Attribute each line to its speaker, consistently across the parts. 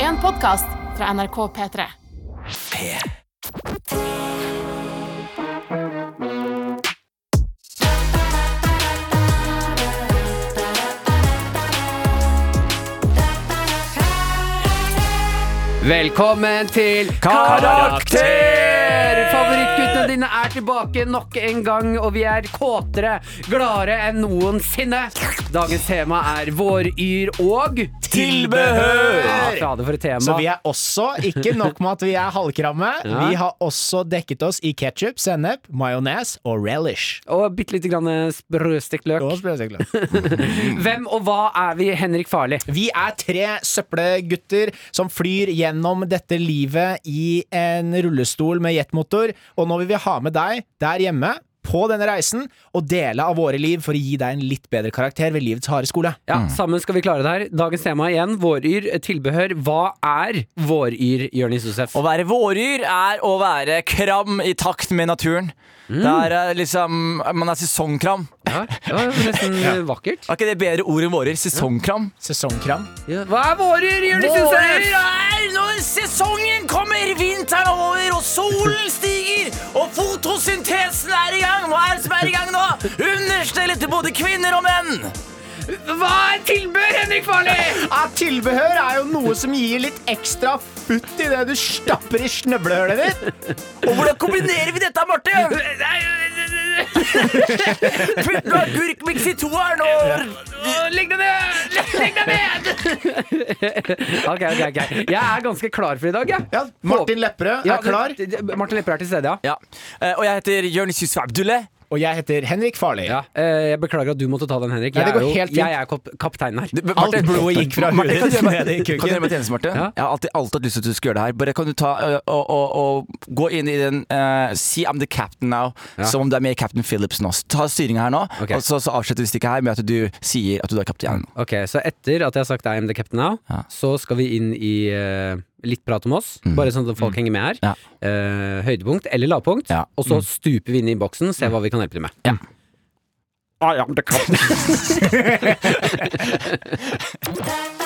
Speaker 1: en podkast fra NRK P3.
Speaker 2: Velkommen til Karakter! Favorittguttene dine er tilbake nok en gang, og vi er kåtere, gladere enn noensinne. Dagens tema er våryr og
Speaker 3: Tilbehør!
Speaker 2: Ja, fader for et tema.
Speaker 3: Så vi er også, ikke nok med at vi er halvkramme,
Speaker 2: Ja.
Speaker 3: vi har også dekket oss i ketsjup, sennep, majones og relish.
Speaker 2: Og bitte lite grann eh, sprøstekt løk.
Speaker 3: Og sprøsekler.
Speaker 2: Hvem og hva er vi, Henrik Farli?
Speaker 3: Vi er tre søppelgutter som flyr gjennom dette livet i en rullestol med jetmotor, og nå vil vi ha med deg der hjemme på denne reisen og dele av våre liv for å gi deg en litt bedre karakter ved livets harde skole.
Speaker 2: Ja, Sammen skal vi klare det her. Dagens tema igjen, våryr, tilbehør. Hva er våryr, Jonis Josef?
Speaker 4: Å være våryr er å være kram i takt med naturen. Det er eh, liksom Man er sesongkram.
Speaker 2: Ja, det var nesten eh, vakkert.
Speaker 4: Er ikke det bedre ord enn våryr? Sesongkram.
Speaker 3: Sesongkram.
Speaker 2: Ja. Hva er våryr, Jonis Josef?
Speaker 4: er når sesongen kommer, vinteren er over, og solen stiger, og fotosyntesen er i gang. Hva er det som er i gang nå? Understellet til både kvinner og menn.
Speaker 2: Hva er tilbehør, Henrik Farli?
Speaker 3: Ja, tilbehør er jo noe som gir litt ekstra futt i det du stapper i snøblehølet ditt.
Speaker 4: Og hvordan kombinerer vi dette, Marte? Putt agurkmiks i toeren og
Speaker 2: Legg deg ned! Legg deg ned! ok, ok, ok. Jeg er ganske klar for i dag, jeg.
Speaker 3: Ja, Martin Lepperød
Speaker 2: Ja,
Speaker 3: er klar.
Speaker 2: d- d- Martin Lepper er til stede, ja.
Speaker 4: Ja. Eh, Og jeg heter Jonis Yusuf Abdulle.
Speaker 3: Og jeg heter Henrik Farley.
Speaker 2: Eh, jeg beklager at du måtte ta den, Henrik.
Speaker 3: Nei,
Speaker 2: Jeg
Speaker 3: det
Speaker 2: er,
Speaker 3: går
Speaker 2: jo,
Speaker 3: helt fint.
Speaker 2: jeg er kap kapteinen her.
Speaker 4: Du,
Speaker 3: Alt blodet gikk fra
Speaker 4: Martin,
Speaker 3: hodet
Speaker 4: kan du
Speaker 3: ditt
Speaker 4: gjøre meg-
Speaker 3: ned i kuken.
Speaker 4: Kan du gjøre meg en tjeneste, Marte?
Speaker 2: Ja.
Speaker 4: Jeg har alltid, alltid hatt lyst til at du skal gjøre det her. Bare kan du ta ø, og, og, og gå inn i den eh, See I'm the captain now,
Speaker 2: Ja.
Speaker 4: som om du er med i Captain Phillips nå. Så Ta styringa her nå,
Speaker 2: Ok.
Speaker 4: og så, så avslutter vi stikket her med at du sier at du er kaptein.
Speaker 2: Ok, Så etter at jeg har sagt I am the captain now,
Speaker 4: Ja.
Speaker 2: så skal vi inn i eh, litt prat om oss. Bare sånn at folk henger med her.
Speaker 4: Ja.
Speaker 2: Eh, høydepunkt eller lavpunkt.
Speaker 4: Ja.
Speaker 2: Og så stuper vi inn i boksen, ser hva vi kan hjelpe til med. Ja. I am the captain.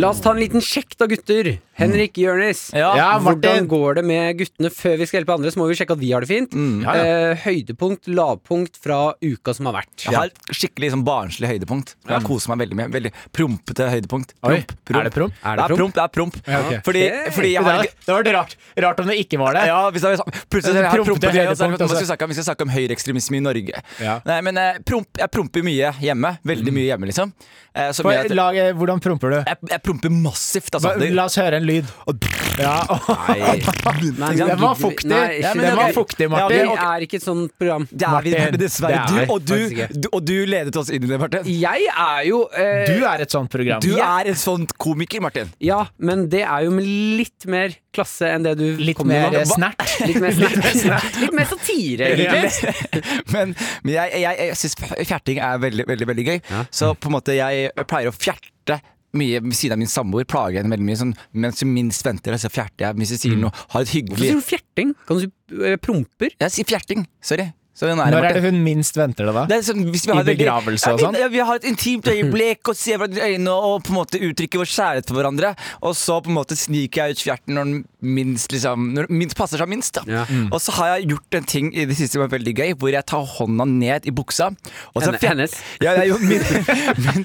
Speaker 2: La oss ta en liten sjekk da, gutter. Henrik, Jonis.
Speaker 4: Ja.
Speaker 3: Ja,
Speaker 2: Hvordan
Speaker 3: Martin.
Speaker 2: går det med guttene før vi skal hjelpe andre? Så må vi sjekke at vi har det fint.
Speaker 3: Ja, ja.
Speaker 2: Eh, høydepunkt, lavpunkt fra uka som har vært.
Speaker 4: Jeg har et skikkelig sånn, barnslig høydepunkt. Jeg koser meg veldig med Veldig prompete høydepunkt.
Speaker 3: Oi, er det promp?
Speaker 2: Er det
Speaker 4: Er det, er
Speaker 2: promp?
Speaker 4: promp? Det er promp.
Speaker 3: Ja, ok.
Speaker 4: Fordi,
Speaker 2: Ok.
Speaker 4: fordi
Speaker 3: Det
Speaker 4: jeg har
Speaker 3: hadde- det hadde vært rart. Rart om det ikke var det.
Speaker 4: Ja, hvis det er, plutselig har jeg
Speaker 3: Prompte
Speaker 4: prompet det, og så er det-
Speaker 3: høydepunkt,
Speaker 4: nå skal
Speaker 3: altså.
Speaker 4: vi, snakke, om- vi skal snakke om høyreekstremisme i Norge.
Speaker 3: Ja.
Speaker 4: Nei, men eh, promp, jeg promper mye hjemme. Veldig mye hjemme, liksom. Eh, som
Speaker 3: Få-
Speaker 4: gjør at-
Speaker 3: lag, eh, hvordan promper du?
Speaker 4: jeg, jeg promper massivt, altså.
Speaker 3: Hva-
Speaker 4: Det-
Speaker 3: La oss høre en lyd. Ja,
Speaker 2: Nei.
Speaker 4: Nei,
Speaker 3: Den var fuktig.
Speaker 2: Nei,
Speaker 3: Ja, men
Speaker 2: det
Speaker 3: den
Speaker 2: var
Speaker 3: var fuktig, Martin.
Speaker 2: Vi
Speaker 4: ok.
Speaker 2: er ikke et sånt program.
Speaker 4: det er vi,
Speaker 3: Martin,
Speaker 4: dessverre.
Speaker 3: det er
Speaker 4: Du, og, du,
Speaker 2: faktisk ikke.
Speaker 4: du, og du ledet oss inn i det, Martin.
Speaker 2: Jeg er jo eh,
Speaker 3: Du er et sånt program.
Speaker 4: Du
Speaker 2: Ja.
Speaker 4: er en sånn komiker, Martin.
Speaker 2: Ja, men det er jo med litt mer klasse enn det du
Speaker 3: Litt
Speaker 2: kommer
Speaker 3: mer
Speaker 2: med
Speaker 3: eh,
Speaker 2: nå. Hva-
Speaker 3: snert.
Speaker 2: Litt mer snert. Litt mer satire, egentlig.
Speaker 4: Men, men jeg, jeg, jeg syns fjerting er veldig, veldig, veldig gøy.
Speaker 2: Ja.
Speaker 4: Så på en måte jeg pleier å fjerte mye ved siden av min samboer. Plager henne veldig mye. Sånn, mens hun minst venter det, så fjerter jeg. Hvis jeg sier noe, har et
Speaker 2: Hvorfor
Speaker 4: hyggelig
Speaker 2: sier du fjerting? Kan du si eh, promper?
Speaker 4: Jeg sier fjerting. Sorry. Så den
Speaker 3: Når er
Speaker 4: Martin.
Speaker 3: det hun minst venter det, da?
Speaker 4: Det er sånn, hvis vi
Speaker 3: I
Speaker 4: har et veldig-
Speaker 3: begravelse og
Speaker 4: Ja,
Speaker 3: sånn?
Speaker 4: Ja, vi har et intimt øyeblikk og ser hverandre i øynene og på en måte uttrykker vår kjærlighet for hverandre. Og så på en måte sniker jeg ut fjerten når den minst, liksom, når den minst passer seg minst. Da.
Speaker 2: Ja.
Speaker 3: Mm.
Speaker 4: Og så har jeg gjort en ting i det siste som er veldig gøy, hvor jeg tar hånda ned i buksa. Og så
Speaker 2: Henne-
Speaker 4: fjer-
Speaker 2: hennes?
Speaker 4: Ja, jeg, gjorde min, min,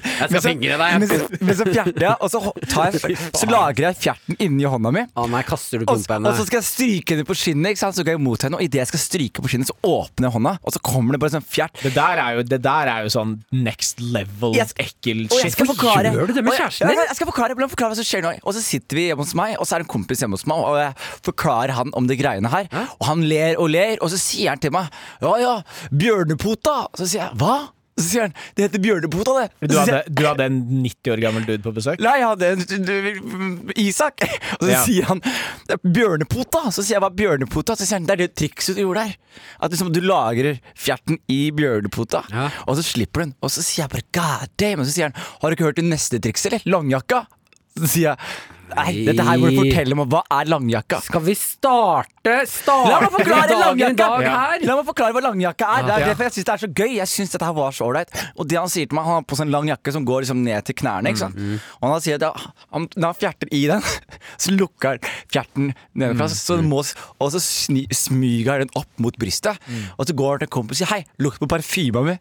Speaker 2: Jeg skal
Speaker 4: men så-
Speaker 2: fingre deg.
Speaker 4: Men så, men så fjerter jeg, og så, ho- tar jeg, så lagrer jeg fjerten inni hånda mi.
Speaker 2: Å nei, kaster du
Speaker 4: Og,
Speaker 2: promp på henne?
Speaker 4: og så skal jeg stryke henne på skinnet, ikke sant? så går jeg mot henne, og idet jeg skal stryke på skinnet, så åpner jeg hånda, og så kommer det bare sånn fjert.
Speaker 3: Det der er jo, det der er jo sånn next level
Speaker 4: Jeg-
Speaker 3: ekkel
Speaker 4: Og jeg skal
Speaker 3: shit.
Speaker 4: forklare
Speaker 2: gjør du det med
Speaker 4: Og jeg-
Speaker 2: kjæresten din?
Speaker 4: Jeg, jeg skal forklare, jeg forklare hva som skjer nå Og så sitter vi hjemme hos meg Og så er det en kompis hjemme hos meg Og jeg forklarer han om det greiene her Og han ler og ler Og så sier han til meg Ja, ja, bjørnepota Så sier jeg, hva? Så sier han, det heter bjørnepota det Så
Speaker 3: Du
Speaker 4: sier jeg,
Speaker 3: hadde, du hadde en 90 år gammel dude på besøk?
Speaker 4: Nei, jeg hadde en du- Isak Og så
Speaker 3: Ja.
Speaker 4: sier han «Det er Bjørnepota Så sier jeg, hva er bjørnepota? Så sier han, det er det trikset du gjorde der At liksom, du lagrer fjerten i bjørnepota
Speaker 2: Ja.
Speaker 4: Og så slipper du den Og så sier jeg bare, god damn Og så sier han, har du ikke hørt det neste trikset, eller? Langjakka Så sier jeg, Nei, dette her må du fortelle meg. Hva er langjakka?
Speaker 2: Skal vi starte Starte
Speaker 4: La meg forklare
Speaker 2: dagen i
Speaker 4: langjakka!
Speaker 2: dag her?
Speaker 4: La meg forklare hva langjakka er. Det er
Speaker 3: Ja.
Speaker 4: derfor jeg syns det er så gøy. Jeg synes dette her var så ålreit. Og det han sier til meg, han har på seg en lang jakke som går liksom ned til knærne. Ikke sant? Og han sier at ja, han, når han fjerter i den, så lukker han fjerten nedenfra. Så den må, og så sni, smyger han den opp mot brystet. Og så går han til en kompis og sier hei, lukt på parfyma mi.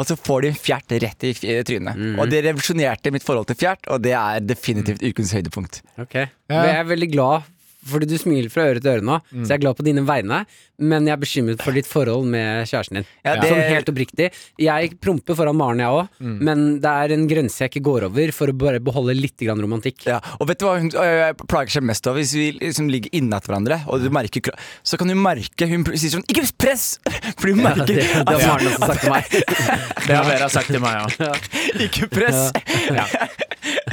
Speaker 4: Og så får de en fjert rett i fj- trynet. Og det revolusjonerte mitt forhold til fjert, og det er definitivt ukens høydepunkt.
Speaker 2: Ok, Men Jeg er veldig glad fordi du smiler fra øre til øre nå,
Speaker 4: Mm.
Speaker 2: så jeg er glad på dine vegne. Men jeg er bekymret for ditt forhold med kjæresten din.
Speaker 4: Ja, det- Mm.
Speaker 2: Sånn helt oppriktig. Jeg promper foran Maren, jeg òg, men det er en grense jeg ikke går over for å bare beholde litt grann romantikk.
Speaker 4: Ja, og vet du hva hun øh, plager seg mest over? Hvis vi liksom ligger innat hverandre, og du merker kro- Så kan du merke Hun pr- sier sånn 'Ikke press!' Fordi hun
Speaker 2: Det,
Speaker 4: merker
Speaker 2: det har
Speaker 4: at-
Speaker 2: Maren også sagt til meg.
Speaker 3: Det har dere sagt til meg òg.
Speaker 4: Ikke press!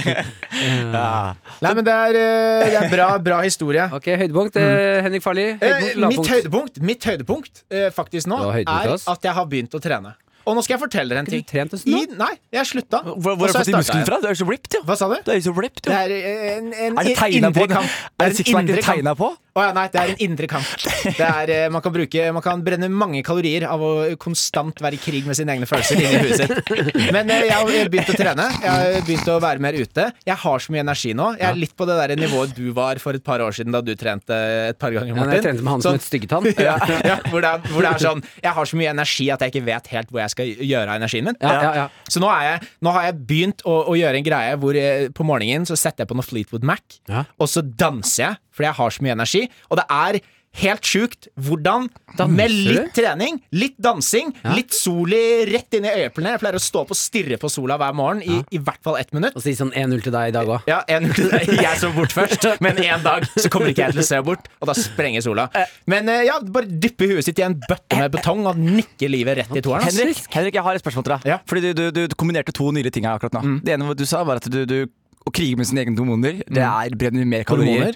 Speaker 4: Ja.
Speaker 3: Nei, men det er, eh, det er bra, bra historie.
Speaker 2: Ok, høydepunkt.
Speaker 4: Mm.
Speaker 2: eh, Henrik Farli.
Speaker 3: Eh,
Speaker 2: Høydepunkt,
Speaker 3: mitt
Speaker 2: lavpunkt.
Speaker 3: høydepunkt, mitt høydepunkt eh, faktisk nå
Speaker 2: Det var høydepunkt til
Speaker 3: er
Speaker 2: oss.
Speaker 3: at jeg har begynt å trene. Og nå skal jeg fortelle dere en
Speaker 2: Har ikke
Speaker 3: ting.
Speaker 2: du trent en
Speaker 3: I,
Speaker 2: stund?
Speaker 3: nei, jeg slutta.
Speaker 4: Hvor,
Speaker 3: Og
Speaker 4: hvor har
Speaker 3: så starta
Speaker 4: du fått de
Speaker 3: jeg.
Speaker 4: musklene fra? Du er jo så ripped, jo.
Speaker 3: Hva sa du?
Speaker 4: Du er jo så ripped, jo.
Speaker 3: Det er eh, en, en
Speaker 4: Er det tegna
Speaker 3: indre
Speaker 4: på? den?
Speaker 3: kamp.
Speaker 4: Er det sixpacken tegna på?
Speaker 3: Å ja, nei, det er en indre kamp. Det er, eh, man, kan bruke, man kan brenne mange kalorier av å konstant være i krig med sine egne følelser inni huet sitt. Men eh, jeg har begynt å trene. Jeg har begynt å være mer ute. Jeg har så mye energi nå. Jeg er litt på det der nivået du var for et par år siden da du trente et par ganger,
Speaker 2: Ja, når
Speaker 3: Martin.
Speaker 2: jeg trente med han som
Speaker 3: Sånn-
Speaker 2: het Styggetann.
Speaker 3: ja, ja, hvor, det er, hvor det er sånn Jeg har så mye energi at jeg ikke vet helt hvor jeg skal gjøre av energien min.
Speaker 2: Ja, ja, ja.
Speaker 3: Så nå, er jeg, nå har jeg begynt å, å gjøre en greie hvor jeg, på morgenen så setter jeg på noe Fleetwood Mac,
Speaker 2: Ja.
Speaker 3: og så danser jeg fordi jeg har så mye energi. Og det er helt sjukt hvordan med
Speaker 2: du?
Speaker 3: litt trening, litt dansing, litt sol i, rett inn i øyeeplene Jeg pleier å stå opp og stirre på sola hver morgen i, i hvert fall ett minutt.
Speaker 2: Og si sånn 1-0 til deg i dag òg.
Speaker 3: Ja, en, jeg så bort først, men en dag så kommer ikke jeg til å se bort, og da sprenger sola. Men eh, ja, bare dyppe huet sitt i en bøtte med betong og nikke livet rett i toeren. altså. ass.
Speaker 4: Henrik, Henrik, jeg har et spørsmål til deg.
Speaker 3: Ja. Mm.
Speaker 4: Fordi du, du, du kombinerte to nydelige ting her akkurat nå. Det ene du sa, var at du, du å krige med sine egne demoner, det er brenner mer kalorier.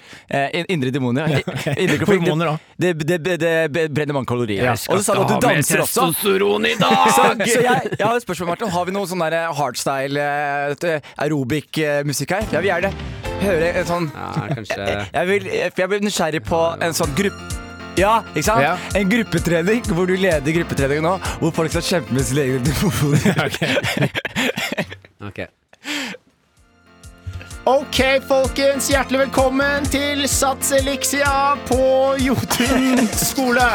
Speaker 3: Mm. Hormoner?
Speaker 4: Eh, in- indre demoner. I- indre konflikt.
Speaker 3: Hormoner også.
Speaker 4: Det, det, det, det brenner mange kalorier. og så sa du at du danser også.
Speaker 2: Testosteron i dag!
Speaker 4: Så, så jeg, jeg har et spørsmål, Martin. Har vi noe sånn der hardstyle, eh, aerobic eh, musikk her? Jeg vil gjerne høre en sånn
Speaker 2: Ja, kanskje
Speaker 4: jeg vil, for jeg blir nysgjerrig på en sånn gruppe ja, ikke sant?
Speaker 3: Ja.
Speaker 4: En gruppetrening hvor du leder gruppetreningen nå, hvor folk skal kjempe med sine egne telefoner.
Speaker 2: Ok.
Speaker 3: Ok, folkens. Hjertelig velkommen til Sats Elixia på Jotun skole.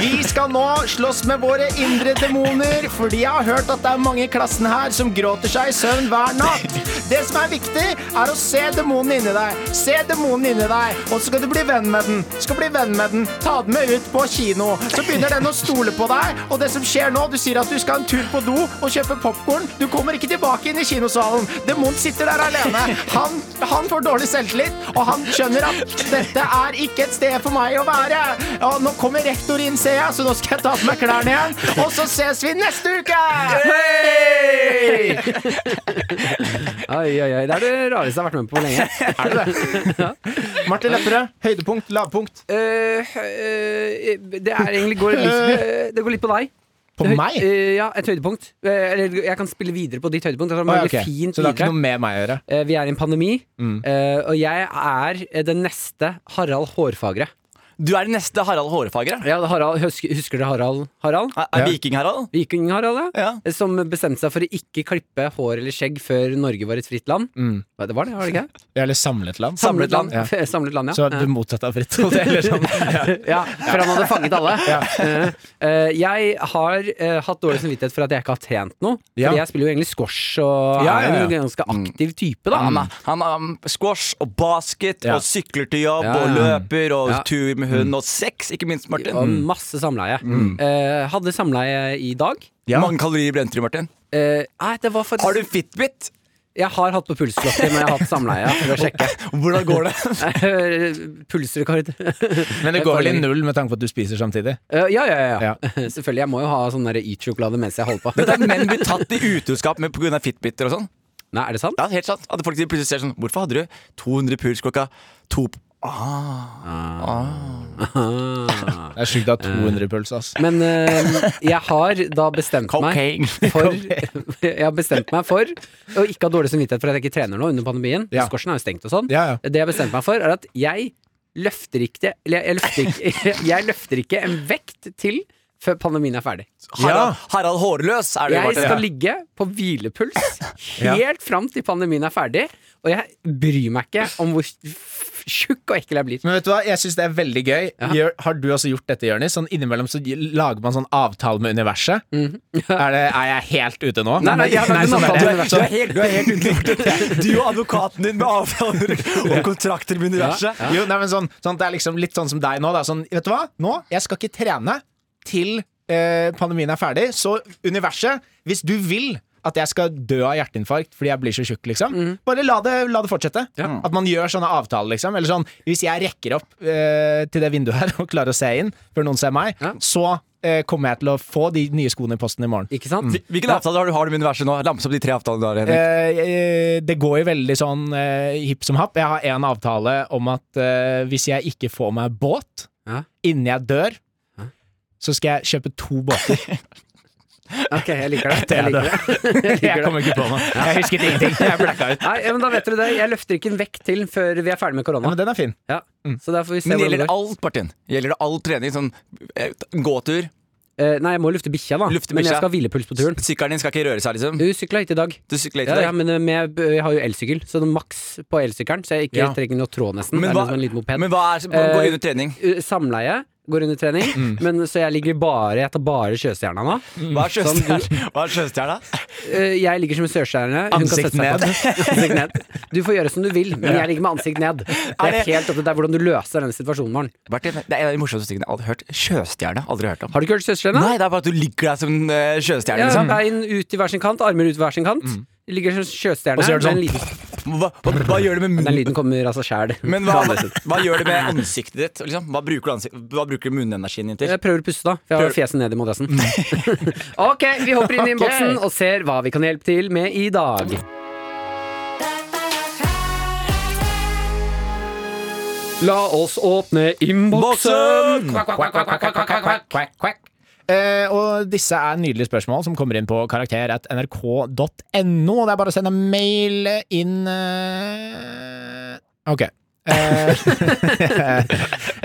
Speaker 3: Vi skal nå slåss med våre indre demoner, fordi jeg har hørt at det er mange i klassen her som gråter seg i søvn hver natt. Det som er viktig, er å se demonen inni deg. Se demonen inni deg, og så skal du bli venn med den. Skal bli venn med den. Ta den med ut på kino. Så begynner den å stole på deg, og det som skjer nå, du sier at du skal en tur på do og kjøpe popkorn. Du kommer ikke tilbake inn i kinosalen. Demon sitter der alene. Han, han får dårlig selvtillit, og han skjønner at dette er ikke et sted for meg å være. Ja, nå kommer rektor inn, ser jeg, så nå skal jeg ta på meg klærne igjen. Og så ses vi neste uke!
Speaker 2: Oi, oi, oi. Det er det rareste jeg har vært med på lenge.
Speaker 3: Er det det? Martin Lepperød, høydepunkt, lavpunkt.
Speaker 2: Eh, eh, det er egentlig går litt, eh, Det går litt på deg.
Speaker 3: På
Speaker 2: Høy-
Speaker 3: meg?
Speaker 2: eh, ja, et høydepunkt. Eh, Eller jeg kan spille videre på ditt høydepunkt. Jeg tror det
Speaker 3: Å, ja,
Speaker 2: er
Speaker 3: ok.
Speaker 2: veldig fint
Speaker 3: Så det har ikke
Speaker 2: videre.
Speaker 3: noe Mm. med meg å gjøre?
Speaker 2: Eh, Vi er i en pandemi, eh, og jeg er eh, den neste Harald Hårfagre.
Speaker 4: Du er den neste Harald Hårfagre.
Speaker 2: Ja, det er Harald, husker, husker dere Harald? Harald?
Speaker 4: Er, er
Speaker 3: Ja.
Speaker 4: Viking-Harald?
Speaker 2: Viking-Harald, ja.
Speaker 4: Ja.
Speaker 2: Eh, Som bestemte seg for å ikke klippe hår eller skjegg før Norge var et fritt land.
Speaker 3: Mm.
Speaker 2: Hva, Det var det, var det ikke?
Speaker 3: Eller samlet land.
Speaker 4: Samlet land,
Speaker 3: ja.
Speaker 2: Samlet land, ja.
Speaker 3: Så
Speaker 2: Eh.
Speaker 3: du motsatt av fritt Holt, eller sånn.
Speaker 2: Ja, for han hadde fanget alle. Eh, eh, jeg har eh, hatt dårlig samvittighet for at jeg ikke har trent noe.
Speaker 3: Ja.
Speaker 2: Fordi jeg spiller jo egentlig squash og
Speaker 3: Ja, ja,
Speaker 2: er
Speaker 3: ja.
Speaker 2: en
Speaker 3: Mm.
Speaker 2: ganske aktiv type, da.
Speaker 4: Han, er- han er um, squash og basket
Speaker 3: Ja.
Speaker 4: og sykler til jobb
Speaker 2: Mm. Ja,
Speaker 4: og
Speaker 2: ja.
Speaker 4: løper og
Speaker 2: Ja.
Speaker 4: tur med hund og sex, ikke minst, Martin.
Speaker 2: Og
Speaker 3: Mm.
Speaker 2: masse samleie. Eh, hadde samleie i dag.
Speaker 3: Ja.
Speaker 4: Mange kalorier brente du, Martin?
Speaker 2: Eh, nei, det var faktisk
Speaker 4: Har du Fitbit?
Speaker 2: Jeg har hatt på pulsklokke, men jeg har hatt samleie for å sjekke.
Speaker 4: Hvordan går det?
Speaker 2: Eh, Pulsrekord.
Speaker 3: Men det går vel i null med tanke på at du spiser samtidig.
Speaker 2: Eh, ja, ja, ja, ja.
Speaker 3: Ja.
Speaker 2: Selvfølgelig. Jeg må jo ha sånn derre eat-sjokolade mens jeg holder på.
Speaker 4: Dette er menn blir tatt i utroskap med pga. Fitbiter og sånn.
Speaker 2: Nei, er det sant?
Speaker 4: Ja, helt sant. At folk plutselig ser sånn Hvorfor hadde du 200 puls klokka to på-
Speaker 3: Det er sjukt å ha 200 pølser, ass.
Speaker 2: Ah. Men eh, jeg har da bestemt meg
Speaker 4: Cocaine.
Speaker 2: for Jeg har bestemt meg for å ikke ha dårlig samvittighet for at jeg ikke trener nå under pandemien.
Speaker 3: Ja.
Speaker 2: Squashen er jo stengt og sånn.
Speaker 3: Ja, ja.
Speaker 2: Det jeg har bestemt meg for, er at jeg løfter ikke Eller jeg løfter ikke, jeg løfter ikke en vekt til før pandemien er ferdig.
Speaker 4: Harald, Harald Hårløs er det
Speaker 2: Jeg
Speaker 4: Martin.
Speaker 2: skal ligge på hvilepuls
Speaker 3: Ja.
Speaker 2: helt fram til pandemien er ferdig, og jeg bryr meg ikke om hvor f- tjukk og ekkel jeg blir.
Speaker 3: Men vet du hva, jeg syns det er veldig gøy. Gjør, har du også gjort dette, Jonis? Sånn innimellom så lager man sånn avtale med universet. er, det, er jeg helt ute nå?
Speaker 2: Nei, nei, jeg har lagd en
Speaker 3: sånn
Speaker 2: avtale
Speaker 3: er det.
Speaker 2: med universet.
Speaker 3: Sånn-
Speaker 4: helt, du er helt unngjort. Du og advokaten din med avtaler og kontrakter med universet.
Speaker 3: Jo, nei, men sånn, sånn, det er liksom litt sånn som deg nå. Da. Sånn, vet du hva? Nå, jeg skal ikke trene til eh, pandemien er ferdig. Så universet, hvis du vil at jeg skal dø av hjerteinfarkt fordi jeg blir så tjukk, liksom. Bare la det, la det fortsette. At man gjør sånne avtaler, liksom. Eller sånn, hvis jeg rekker opp eh, til det vinduet her og klarer å se inn før noen ser meg,
Speaker 2: Ja.
Speaker 3: så eh, kommer jeg til å få de nye skoene i posten i morgen.
Speaker 2: Ikke sant?
Speaker 4: Hvilken avtale har du, har du med universet nå? Lamse opp de tre avtalene du har. Henrik.
Speaker 3: Eh, eh, det går jo veldig sånn eh, hipp som happ. Jeg har en avtale om at eh, hvis jeg ikke får meg båt
Speaker 2: Ja.
Speaker 3: innen jeg dør, så skal jeg kjøpe to båter.
Speaker 2: Ok, jeg liker det. Jeg liker det.
Speaker 3: jeg kommer ikke på noe. Jeg husket ingenting. Jeg blacka ut.
Speaker 2: Nei, ja, men da vet dere det. Jeg løfter ikke en vekt til før vi er ferdig med
Speaker 3: Ja,
Speaker 2: korona.
Speaker 3: men den er fin.
Speaker 2: Ja. Så der får vi se
Speaker 4: Men
Speaker 2: hvordan
Speaker 4: gjelder
Speaker 2: det
Speaker 4: det
Speaker 2: går.
Speaker 4: alt, Martin? Gjelder det all trening? Sånn eh, gåtur?
Speaker 2: Eh, Nei, jeg må lufte bikkja, da.
Speaker 4: Lufte
Speaker 2: Men
Speaker 4: bikkja.
Speaker 2: jeg skal ha hvilepuls på turen.
Speaker 4: Sykkelen din skal ikke røre seg, liksom?
Speaker 2: Du sykla hit i dag.
Speaker 4: Du
Speaker 2: Ja,
Speaker 4: sykler ikke i
Speaker 2: ja,
Speaker 4: dag?
Speaker 2: men eh, med, jeg har jo elsykkel, så det er maks på elsykkelen. Så jeg ikke
Speaker 3: Ja.
Speaker 2: trenger noe tråd, nesten. det er
Speaker 4: Men hva,
Speaker 2: liksom en liten moped.
Speaker 4: men hva er Gå
Speaker 2: Eh,
Speaker 4: under trening. Mm.
Speaker 2: U- Samleie går under trening, men så jeg ligger bare Jeg tar bare sjøstjerna nå.
Speaker 4: Hva er
Speaker 2: Som du-
Speaker 4: sjøstjerna? Hva er sjøstjerna?
Speaker 2: Eh, Jeg ligger som en sjøstjerne. Hun kan sette
Speaker 3: Ansikt
Speaker 2: seg på det. Ansikt ned. Du får gjøre som du vil, men jeg ligger med ansikt ned. Det er
Speaker 4: det-
Speaker 2: helt opp til deg hvordan du løser denne situasjonen, Maren.
Speaker 4: Martin, det er en av de morsomste tingene jeg har aldri hørt. Sjøstjerne. Aldri hørt om.
Speaker 2: Har du ikke hørt Sjøstjerna?
Speaker 4: Nei, det er bare at du ligger der som en eh, sjøstjerne,
Speaker 2: Ja,
Speaker 4: liksom.
Speaker 2: Bein ut i hver sin kant, armer ut i hver sin kant.
Speaker 4: Mm.
Speaker 2: Ligger som en sjøstjerne.
Speaker 3: Og så gjør det
Speaker 2: men
Speaker 3: sånn.
Speaker 2: lyden-
Speaker 4: Hva, hva, hva gjør det med
Speaker 2: Den
Speaker 4: munnen?
Speaker 2: lyden kommer altså av seg sjæl.
Speaker 4: Men hva, hva gjør det med ansiktet ditt? Liksom? Hva bruker du, ansikt, hva bruker du munnenergien din til?
Speaker 2: Jeg prøver å puste, da. For jeg har
Speaker 4: Prøver-
Speaker 2: fjeset ned i madrassen. ok, vi hopper inn i innboksen og ser hva vi kan hjelpe til med i dag. La oss åpne innboksen! Kvakk, kvakk, kvakk, kvakk, kvakk, kvakk, kvakk, kvakk, kvakk.
Speaker 3: Eh, og disse er nydelige spørsmål som kommer inn på karakter.nrk.no. Det er bare å sende mail inn eh, Ok. Eh,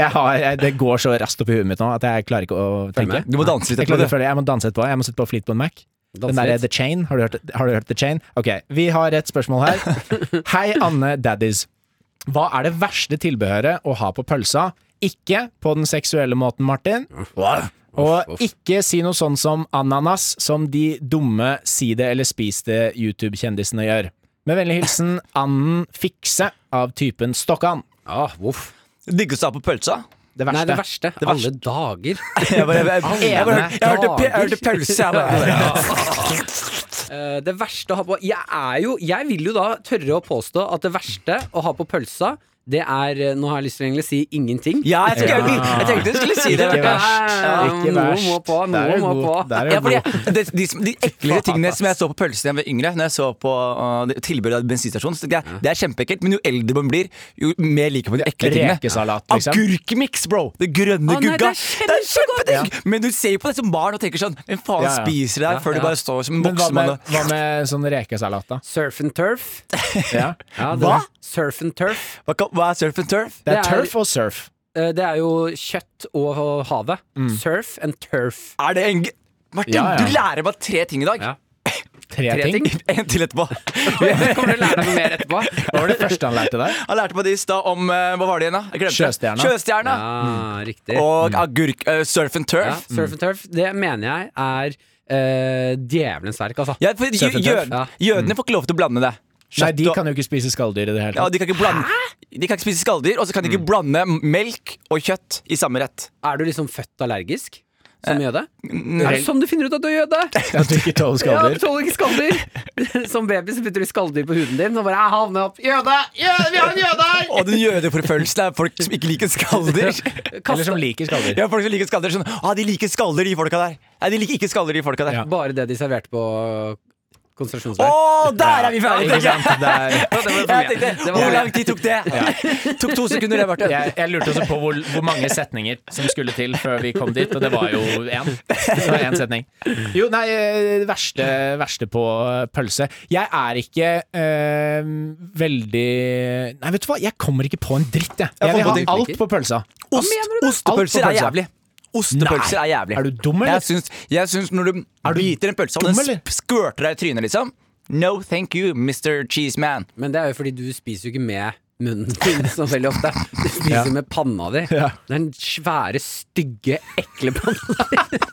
Speaker 3: jeg har, jeg, det går så raskt opp i huet mitt nå at jeg klarer ikke å tenke.
Speaker 2: med.
Speaker 4: Du må danse litt
Speaker 3: Jeg,
Speaker 4: etterpå.
Speaker 3: klarer,
Speaker 4: du.
Speaker 3: føler jeg må danse etterpå. Jeg må sitte på Fleetbone Mac. Den der, The Chain. Har du, hørt, har du hørt The Chain? Ok, vi har et spørsmål her. Hei, Anne Daddies. Hva er det verste tilbehøret å ha på pølsa? Ikke på den seksuelle måten, Martin. Og ikke si noe sånn som ananas, som de dumme si det eller spis det YouTube-kjendisene gjør. Med vennlig hilsen Anden Fikse av typen Stokkan.
Speaker 2: Ah, voff.
Speaker 4: Digges du av på pølsa?
Speaker 3: Det
Speaker 2: Nei,
Speaker 3: verste.
Speaker 2: det verste. Alle dager.
Speaker 4: Jeg bare- jeg- jeg- jeg bare- jeg hørte pe- jeg hørte pølse. Jeg bare,
Speaker 2: Eh, det verste å ha på Jeg er jo Jeg vil jo da tørre å påstå at det verste å ha på pølsa, det er eh, Nå har jeg lyst til å egentlig si ingenting.
Speaker 4: ja, jeg, tenkte, jeg, jeg tenkte du skulle si det.
Speaker 3: Ikke
Speaker 4: Bjarte.
Speaker 3: verst.
Speaker 2: Ja,
Speaker 3: Ikke
Speaker 2: noe
Speaker 3: verst.
Speaker 2: må på,
Speaker 3: Der er
Speaker 2: noe
Speaker 3: du
Speaker 2: må
Speaker 3: god.
Speaker 2: på.
Speaker 3: Der er
Speaker 4: Ja,
Speaker 3: du
Speaker 4: fordi
Speaker 3: god.
Speaker 4: jeg, de, de, som- de eklere tingene som jeg så på pølsen da jeg var yngre, Når jeg så på uh, det- tilbudet av bensinstasjonen, så tenkte jeg det er kjempeekkelt. Men jo eldre man blir, jo mer liker man de ekle tingene.
Speaker 3: Rekesalat, liksom.
Speaker 4: Agurkmiks, bro! Det grønne
Speaker 2: Å, nei, det er
Speaker 4: gugga.
Speaker 2: kjempegodt.
Speaker 4: kjempedigg. Men du ser jo på det som barn og tenker sånn Hvem faen
Speaker 3: Ja, ja.
Speaker 4: spiser det her?
Speaker 2: ja.
Speaker 4: Før du bare står som en
Speaker 3: Men hva
Speaker 4: voksen mann
Speaker 3: med,
Speaker 4: og
Speaker 3: hva med sånn rekesalat, da?
Speaker 2: Surf and turf.
Speaker 3: Ja.
Speaker 2: Ja, det-
Speaker 4: Hva?
Speaker 2: Surf and turf.
Speaker 4: Hva kan- Hva er surf and turf?
Speaker 3: Det
Speaker 2: Det
Speaker 3: er
Speaker 2: er-
Speaker 3: turf og surf.
Speaker 2: Eh, Det er jo kjøtt og havet.
Speaker 3: Mm.
Speaker 2: Surf and turf.
Speaker 4: Er det en g- Martin,
Speaker 3: Ja, ja.
Speaker 4: du lærer meg tre ting i dag.
Speaker 2: Ja.
Speaker 3: Tre
Speaker 2: Tre
Speaker 3: ting.
Speaker 2: ting.
Speaker 4: En til etterpå.
Speaker 2: Jeg kommer til å lære deg noe mer etterpå.
Speaker 3: Hva var det første han lærte deg?
Speaker 4: Han lærte meg det i stad om eh, Hva var det igjen, da? Jeg glemte det.
Speaker 3: Sjøstjerna.
Speaker 4: Sjøstjerna.
Speaker 3: Mm.
Speaker 2: Ja, riktig.
Speaker 4: Og agurk... eh, surf and turf.
Speaker 2: Ja, surf and turf, det mener jeg er eh, djevelens verk, altså.
Speaker 4: Ja, for jø
Speaker 3: Surf and turf.
Speaker 4: jøden-
Speaker 2: Ja.
Speaker 4: Jødene får ikke lov til å blande det.
Speaker 3: Nei, de
Speaker 4: og-
Speaker 3: kan jo ikke spise skalldyr i det hele
Speaker 4: ja,
Speaker 3: tatt.
Speaker 4: de, kan ikke blande, de kan ikke spise skalldyr, og så kan de ikke blande melk og kjøtt i samme rett.
Speaker 2: Er du liksom født allergisk som
Speaker 3: Eh,
Speaker 2: jøde?
Speaker 4: n-
Speaker 2: Er det sånn du finner ut at du er jøde?
Speaker 3: At du ikke tåler
Speaker 2: Ja, du
Speaker 3: skalldyr.
Speaker 2: tåler ikke skalldyr. Som baby så putter du skalldyr på huden din og bare jeg havner opp Jøde! Jøde! Vi har en jøde her!
Speaker 4: Og den jødeforfølgelsen er folk som ikke liker skalldyr.
Speaker 3: Eller som liker skalldyr.
Speaker 4: Ja, folk som liker skalldyr sånn ah, de liker skalldyr, de folka der. Nei, de liker ikke skalldyr, de folka der.
Speaker 3: Ja.
Speaker 2: Bare det de serverte på
Speaker 4: Å,
Speaker 2: konsentrasjonsleir.
Speaker 4: der er vi ferdige!
Speaker 3: Ikke
Speaker 4: tenker jeg.
Speaker 3: sant? Der.
Speaker 2: Ja, det var for
Speaker 4: Jeg
Speaker 2: mye. Det
Speaker 4: tenkte,
Speaker 2: var-
Speaker 4: Hvor lang tid tok det? Tok to sekunder, det, Barte.
Speaker 3: Jeg, jeg lurte også på hvor, hvor mange setninger som skulle til før vi kom dit, og det var jo én. Det var én setning. Jo, nei, eh, det verste, verste på eh, pølse Jeg er ikke eh, veldig Nei, vet du hva, jeg kommer ikke på en dritt, jeg. Jeg vil ha
Speaker 2: på
Speaker 3: alt
Speaker 2: drittbrikker.
Speaker 3: på pølsa.
Speaker 4: Ost, ostepølser
Speaker 3: Alt på
Speaker 4: er
Speaker 3: pølsa.
Speaker 4: jævlig. Ostepølser
Speaker 3: Nei.
Speaker 4: er jævlig.
Speaker 3: Er du dum, eller?
Speaker 4: Jeg syns, jeg syns når du, biter en pølse og den
Speaker 3: dum, eller?
Speaker 4: sp- skvørter deg i trynet, liksom No thank you, Mr. Cheeseman.
Speaker 2: Men det er jo fordi du spiser jo ikke med munnen din så veldig ofte. Du spiser med panna di.
Speaker 3: Ja.
Speaker 2: Det er den svære, stygge, ekle panna.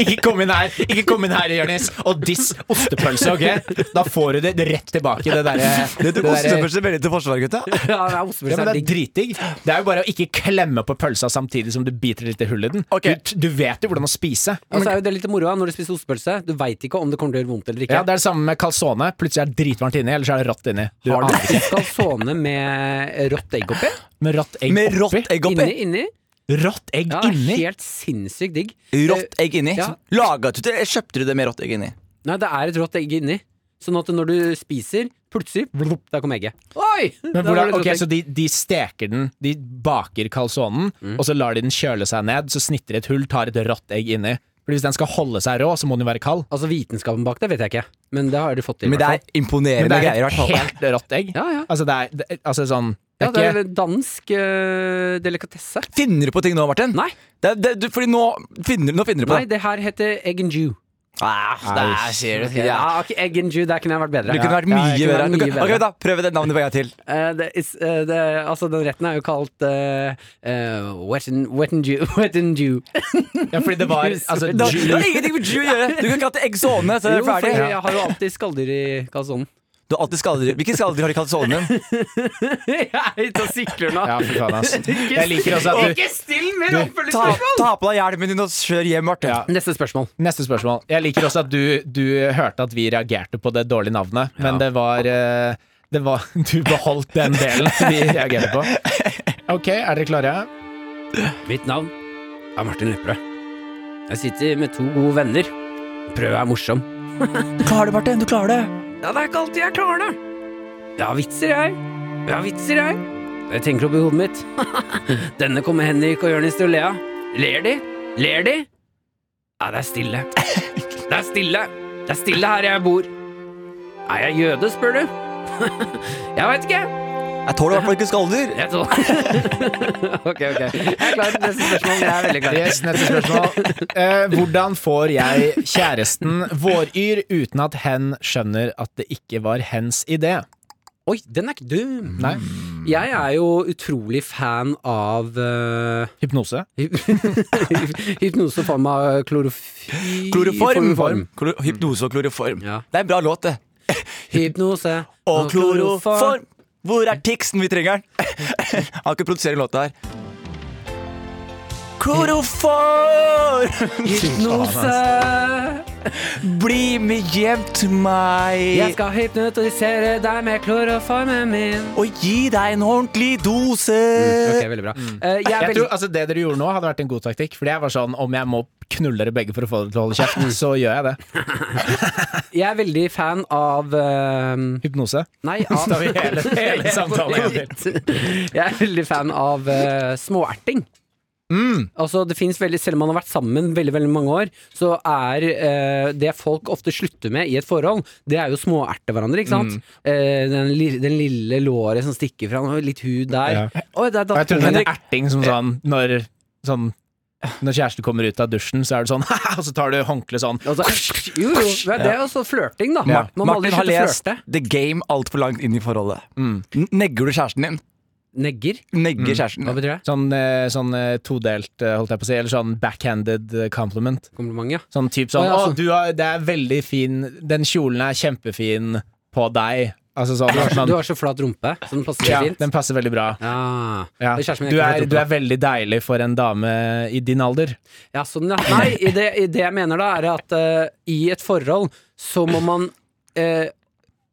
Speaker 3: Ikke kom inn her, ikke kom inn her, Jonis, og diss ostepølse, ok? Da får du det rett tilbake, det derre det derre-
Speaker 4: veldig til forsvar, gutta.
Speaker 2: Ja, det er
Speaker 3: ja, men
Speaker 2: ostepølse.
Speaker 3: Det er dritdigg. Det er jo bare å ikke klemme på pølsa samtidig som du biter litt i hullet i den.
Speaker 4: Ok.
Speaker 3: Du, du vet jo hvordan å spise.
Speaker 2: Og så er jo det litt moro da, når du spiser ostepølse. Du veit ikke om det kommer til å gjøre vondt eller ikke.
Speaker 3: Ja, Det er det samme med calzone. Plutselig er det dritvarmt inni, eller så er det rått inni. Du
Speaker 2: Har du
Speaker 3: aner ikke.
Speaker 2: ikke calzone med rått egg oppi?
Speaker 3: Med rått egg
Speaker 4: Med
Speaker 3: oppi.
Speaker 4: rått egg oppi.
Speaker 2: Inni, inni.
Speaker 3: Rått egg
Speaker 2: Ja,
Speaker 3: inni.
Speaker 2: Helt sinnssykt digg.
Speaker 4: Rått egg inni.
Speaker 2: Ja.
Speaker 4: Laga du det? Kjøpte du det med rått egg inni?
Speaker 2: Eh, Nei, det er et rått egg inni. Sånn at når du spiser, plutselig vlopp, Der kom egget. Oi! Der
Speaker 3: Men
Speaker 2: var
Speaker 3: hvordan,
Speaker 2: det
Speaker 3: ok,
Speaker 2: rått egg.
Speaker 3: Så de, de steker den, de baker calzonen,
Speaker 2: Mm.
Speaker 3: og så lar de den kjøle seg ned, så snitter de et hull, tar et rått egg inni. Fordi Hvis den skal holde seg rå, så må den jo være kald.
Speaker 2: Altså Vitenskapen bak det vet jeg ikke, men det har de fått til. i
Speaker 4: Men det
Speaker 2: hvert fall.
Speaker 4: er imponerende
Speaker 3: Men det er
Speaker 4: greier, i
Speaker 3: et
Speaker 4: hvert fall.
Speaker 3: helt rått egg.
Speaker 2: Ja, ja.
Speaker 3: Altså, det er det, altså sånn
Speaker 2: Ja,
Speaker 3: det er
Speaker 2: det
Speaker 3: ikke,
Speaker 2: er dansk eh, delikatesse.
Speaker 4: Finner du på ting nå, Martin?
Speaker 2: Nei,
Speaker 4: Det, er- det, du, fordi nå finner, nå finner du på
Speaker 2: nei, det her heter egg and jew.
Speaker 4: Ah, der ser du. Ja.
Speaker 2: Ja, ok, egg and jew, der kunne jeg vært bedre.
Speaker 4: Det kunne vært
Speaker 2: Ja,
Speaker 4: mye
Speaker 2: jeg kunne
Speaker 4: bedre.
Speaker 2: vært
Speaker 4: Du
Speaker 2: mye
Speaker 4: kan- Ok, da, Prøv det navnet på en gang til.
Speaker 2: Eh, det is- eh, det, altså, den retten er jo kalt eh, eh, wet, and, wet and jew. Wet and jew.
Speaker 3: ja, fordi det var altså,
Speaker 4: Da,
Speaker 3: ju-
Speaker 4: det har ingenting med Jew å gjøre! Du kan kalle det eggsone, så er
Speaker 2: Jo,
Speaker 4: det
Speaker 2: for
Speaker 4: ferdig.
Speaker 2: jeg har jo alltid skalldyr i kalsonen.
Speaker 4: Du har alltid skalldyr. Hvilke skalldyr har du kalt sonen din?
Speaker 2: jeg er ute og sykler nå.
Speaker 3: Ja, fy faen, ass. Jeg liker også at du
Speaker 2: Ikke still mer
Speaker 4: Ta,
Speaker 2: oppfølgingsspørsmål!
Speaker 4: ta på deg hjelmen din og kjør hjem, Martin.
Speaker 3: Ja.
Speaker 2: Neste spørsmål.
Speaker 3: Neste spørsmål. Jeg liker også at du, du hørte at vi reagerte på det dårlige navnet, men det var, eh, det var Du beholdt den delen vi reagerte på. Ok, er dere klare?
Speaker 2: Mitt navn er Martin Lepperød. Jeg sitter med to gode venner. Prøv å være morsom.
Speaker 4: Du klarer det, Martin. Du klarer det.
Speaker 2: Ja, det er ikke alltid jeg klarer det. Jeg har vitser, jeg. Jeg har vitser, jeg. Jeg tenker oppi hodet mitt. Denne kommer Henrik og Jonis til å le av. Ler de? Ler de? Ja, det er stille. Det er stille. Det er stille her jeg bor. Er jeg jøde, spør du? Jeg veit ikke.
Speaker 4: Jeg tåler i hvert fall ikke skalldyr.
Speaker 2: Jeg tror Ok, ok. Jeg er klar til neste spørsmål. Jeg er veldig klar.
Speaker 3: Yes, neste spørsmål. Eh, hvordan får jeg kjæresten Våryr uten at hen skjønner at det ikke var hens idé?
Speaker 2: Oi, den er ikke dum.
Speaker 3: Nei.
Speaker 2: Jeg er jo utrolig fan av eh,
Speaker 3: Hypnose?
Speaker 2: Hypnose i form av klorofy...
Speaker 4: Kloroform.
Speaker 2: Form.
Speaker 4: Klor- Hypnose og kloroform.
Speaker 2: Ja.
Speaker 4: Det er en bra låt, det.
Speaker 2: Hypnose
Speaker 4: Og kloroform. Hvor er Tixen? Vi trenger den. Han kan ikke produsere låta her. Kloroform!
Speaker 2: Hypnose.
Speaker 4: Bli med hjem til
Speaker 2: Jeg
Speaker 4: meg
Speaker 2: skal hypnotisere deg med kloroformen min.
Speaker 4: og gi deg en ordentlig dose.
Speaker 2: Ok, veldig bra. Eh, jeg er
Speaker 3: Jeg
Speaker 2: veldig
Speaker 3: tror, altså, det dere gjorde nå, hadde vært en god taktikk. Fordi jeg var sånn, Om jeg må knulle dere begge for å få dere til å holde kjeft, så gjør jeg det.
Speaker 2: Jeg er veldig fan av eh,
Speaker 3: Hypnose.
Speaker 2: Nei, av
Speaker 3: Da har vi hele, hele samtalen igjen til.
Speaker 2: Jeg er veldig fan av eh, småerting.
Speaker 3: Mm.
Speaker 2: Altså, det finnes veldig, Selv om man har vært sammen veldig veldig mange år, så er eh, det folk ofte slutter med i et forhold, det er jo småerte hverandre. ikke
Speaker 3: Mm.
Speaker 2: sant? Eh, den, li- den lille låret som stikker fra, og litt hud der.
Speaker 3: Ja.
Speaker 2: Oi, der
Speaker 3: Og
Speaker 2: datt
Speaker 3: jeg tror det
Speaker 2: tonen.
Speaker 3: er erting som sånn når, sånn når kjæresten kommer ut av dusjen, så er det sånn Og så tar du håndkle sånn.
Speaker 2: Og så- Altså, Jo, jo, men det er jo også flørting, da.
Speaker 3: Ja.
Speaker 2: Man må aldri
Speaker 4: Martin har
Speaker 2: slutte å
Speaker 4: lest
Speaker 2: flørte.
Speaker 4: The Game altfor langt inn i forholdet.
Speaker 2: Mm.
Speaker 4: N- Negger du kjæresten din?
Speaker 2: Negger?
Speaker 4: Negger kjæresten
Speaker 2: Mm. Hva
Speaker 4: din.
Speaker 2: betyr det?
Speaker 3: Sånn, eh, sånn eh, todelt, eh, holdt jeg på å si, eller sånn backhanded eh, compliment.
Speaker 2: Kompliment, ja.
Speaker 3: Sånn typ sånn
Speaker 2: Å, ja,
Speaker 3: Å,
Speaker 2: sånn.
Speaker 3: du har, det er veldig fin Den kjolen er kjempefin på deg. Altså sånn. sånn
Speaker 2: Du har så flat rumpe, så den passer
Speaker 3: ja,
Speaker 2: fint.
Speaker 3: den passer veldig bra.
Speaker 2: Ja.
Speaker 3: Ja.
Speaker 2: Det er kjæresten min
Speaker 3: Du,
Speaker 2: ikke
Speaker 3: er,
Speaker 2: flat
Speaker 3: du
Speaker 2: rumpe.
Speaker 3: er veldig deilig for en dame i din alder.
Speaker 2: Ja, sånn, ja. Nei, i det, i det jeg mener da, er at eh, i et forhold så må man eh,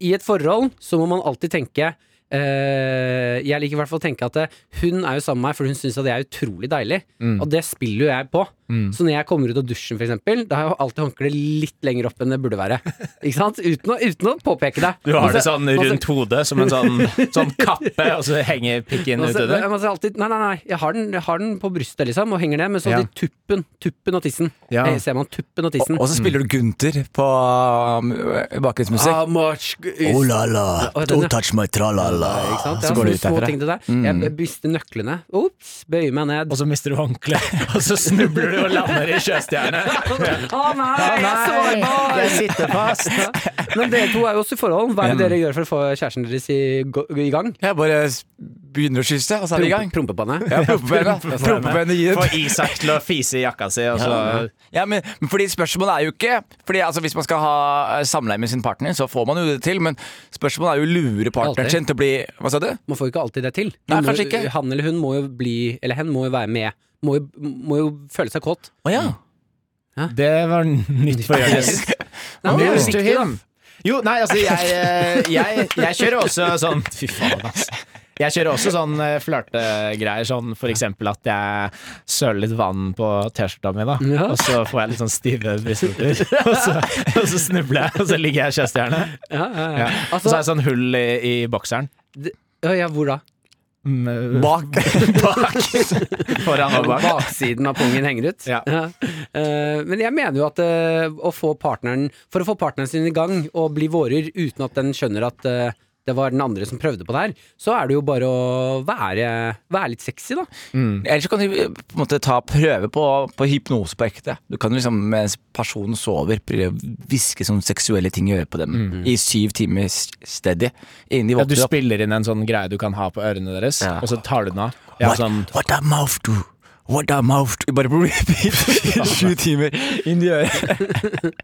Speaker 2: I et forhold så må man alltid tenke eh,
Speaker 3: Mm.
Speaker 2: jeg liker i hvert fall å tenke at eh, hun er jo sammen med meg fordi hun syns at jeg er utrolig deilig, og det spiller jo jeg på. Så når jeg kommer ut av dusjen, for eksempel, da har jeg alltid håndkleet litt lenger opp enn det burde være. Ikke sant? Uten å, uten å påpeke det.
Speaker 3: Du har det
Speaker 2: Altså-
Speaker 3: sånn
Speaker 2: altså-
Speaker 3: rundt hodet, som en sånn, sånn kappe, og så henger pikken
Speaker 2: altså,
Speaker 3: utover.
Speaker 2: jeg må si alltid, nei, nei, nei, jeg har den, jeg har den på brystet, liksom, og henger ned, men så
Speaker 3: Ja.
Speaker 2: de tuppen, tuppen og tissen.
Speaker 3: Ja.
Speaker 2: Eh, ser man tuppen og tissen.
Speaker 4: Og så spiller du Gunther på um, bakgrunnsmusikk.
Speaker 2: much is
Speaker 4: Oh la la,
Speaker 2: Ah, Ja, den, ja.
Speaker 4: don't touch my tralala.
Speaker 2: Ikke sant?
Speaker 4: Så går du ut Mm.
Speaker 2: små
Speaker 4: derfra.
Speaker 2: ting til der. Jeg byster nøklene. Ops, bøyer meg ned.
Speaker 3: Og så mister du håndkleet, og så snubler du og lander i sjøstjerne.
Speaker 2: Å nei, jeg sårbar!
Speaker 3: jeg sitter fast.
Speaker 2: Men dere to er jo også i forhold. Hva er
Speaker 4: Mm.
Speaker 2: det dere gjør for å få kjæresten deres i, go- i gang?
Speaker 4: Jeg bare s- begynner å kysse, og så er det i gang.
Speaker 2: Prompe- Prompepanne?
Speaker 4: Ja, Prompebenet. Prompebenet gir
Speaker 3: Få
Speaker 4: et
Speaker 3: Isak til å fise i jakka si, og så
Speaker 4: Ja, men, men fordi spørsmålet er jo ikke Fordi altså, Hvis man skal ha eh, samleie med sin partner, så får man jo det til, men spørsmålet er jo å lure partneren
Speaker 2: Alltid.
Speaker 4: sin til å bli Hva sa du?
Speaker 2: Man får jo ikke alltid det til.
Speaker 4: Nei,
Speaker 2: Man må,
Speaker 4: kanskje ikke.
Speaker 2: Han eller hun må jo bli Eller hen må jo være med. Må jo, må jo føle seg kåt.
Speaker 4: Å ja.
Speaker 3: Det var nytt for Jonis.
Speaker 2: Nei, men det er
Speaker 3: News
Speaker 2: viktig,
Speaker 3: to
Speaker 2: da.
Speaker 3: him. Jo, nei, altså, jeg, eh, jeg, jeg kjører også sånn Fy faen, ass. Jeg kjører også sånn eh, flørtegreier, sånn for eksempel at jeg søler litt vann på T-skjorta mi, da,
Speaker 2: Ja.
Speaker 3: og så får jeg litt sånn stive brystvorter, og, så- og så snubler jeg, og så ligger jeg i sjøstjerne.
Speaker 2: Ja, ja, ja.
Speaker 3: Ja. og så har jeg sånn hull i, i bokseren.
Speaker 2: Ja, ja, hvor da?
Speaker 3: Mm,
Speaker 4: Bak.
Speaker 3: Foran og bak.
Speaker 2: Baksiden av pungen henger ut.
Speaker 3: Ja.
Speaker 2: Eh, men jeg mener jo at eh, å få partneren For å få partneren sin i gang og bli vårer uten at den skjønner at eh, det var den andre som prøvde på det her, så er det jo bare å være, være litt sexy, da.
Speaker 4: Ellers så kan du eh, på en måte ta prøve på, på hypnose på ekte. Du kan liksom mens personen sover, prøve å hviske sånne seksuelle ting i øret på dem i syv timer s- steady
Speaker 3: Mm.
Speaker 4: innen de
Speaker 3: Ja, du
Speaker 4: våkner opp.
Speaker 3: spiller inn en sånn greie du kan ha på ørene deres,
Speaker 4: Ja.
Speaker 3: og så tar du den av. Ja,
Speaker 4: what,
Speaker 3: sånn,
Speaker 4: what a mouth do? What a mouth do? Bare på repeat i sju timer inn i øret.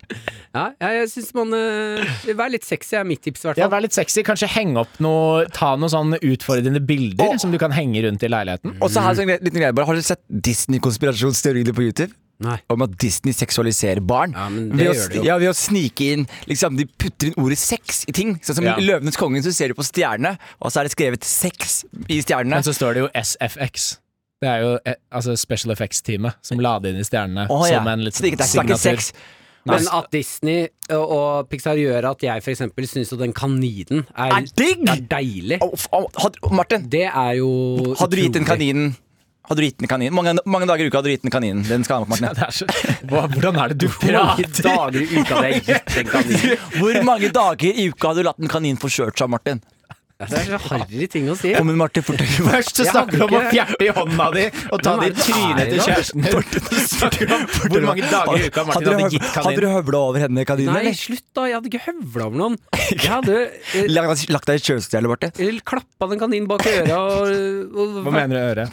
Speaker 2: Ja, jeg, jeg syns man eh, Vær litt sexy er mitt tips, i hvert
Speaker 3: ja,
Speaker 2: fall.
Speaker 3: Vær litt sexy. Kanskje henge opp noe Ta noen sånne utfordrende bilder
Speaker 4: Åh.
Speaker 3: som du kan henge rundt i leiligheten.
Speaker 4: Og så her er en liten greie bare Har dere sett Disney-konspirasjonsteoriene på YouTube?
Speaker 2: Nei.
Speaker 4: Om at Disney seksualiserer barn.
Speaker 2: Ja, men det
Speaker 4: ved,
Speaker 2: gjør
Speaker 4: å,
Speaker 2: det jo.
Speaker 4: ja, ved å snike inn liksom, De putter inn ordet sex i ting. Sånn som
Speaker 3: Ja.
Speaker 4: I 'Løvenes kongen' så ser du på stjernene, og så er det skrevet 'sex' i stjernene.
Speaker 3: Men så står det jo SFX. Det er jo eh, altså Special Effects-teamet som la det inn i stjernene
Speaker 4: Å, ja.
Speaker 3: som en litt
Speaker 4: så det, er ikke- det er ikke
Speaker 3: signatur.
Speaker 4: sex.
Speaker 2: Men at Disney og, og Pixar gjør at jeg f.eks. syns at den kaninen er,
Speaker 4: Er digg!
Speaker 2: er deilig,
Speaker 4: Å, f- å, had- å, Martin,
Speaker 2: det er jo
Speaker 4: hadde du gitt
Speaker 2: utrolig.
Speaker 4: den kaninen Hadde du gitt den kaninen? Mange, mange dager i uka hadde du gitt den kaninen. Den skal ha med, Martin.
Speaker 3: Det er så, Hva- hvordan er det du
Speaker 2: Hvor mange
Speaker 3: prater?
Speaker 2: dager i uka hadde jeg gitt den kaninen?
Speaker 4: Hvor mange dager i uka hadde du latt en kanin få kjørt seg, Martin?
Speaker 2: Det er så harry ting å si.
Speaker 4: Kom igjen, Martin, fortell meg.
Speaker 3: Først så
Speaker 2: Jeg
Speaker 3: snakker du om å
Speaker 2: har ikke-
Speaker 3: fjerte i hånda di og ta
Speaker 2: Hvem
Speaker 3: det
Speaker 2: er
Speaker 3: i
Speaker 2: det som
Speaker 3: trynet
Speaker 2: er
Speaker 3: til
Speaker 2: i dag?
Speaker 3: kjæresten din. Du snakker om hvor mange dager i uka Martin hadde gitt
Speaker 4: Hadde du
Speaker 3: kaninen.
Speaker 4: høvla over henne, kaninen?
Speaker 2: Nei,
Speaker 4: eller?
Speaker 2: slutt da, jeg hadde ikke høvla over noen. Jeg hadde eh,
Speaker 4: Lagt, lagt deg i kjølestjerne, Martin?
Speaker 2: l- klappa den kaninen bak øra og, og
Speaker 3: Hva mener du, Øre?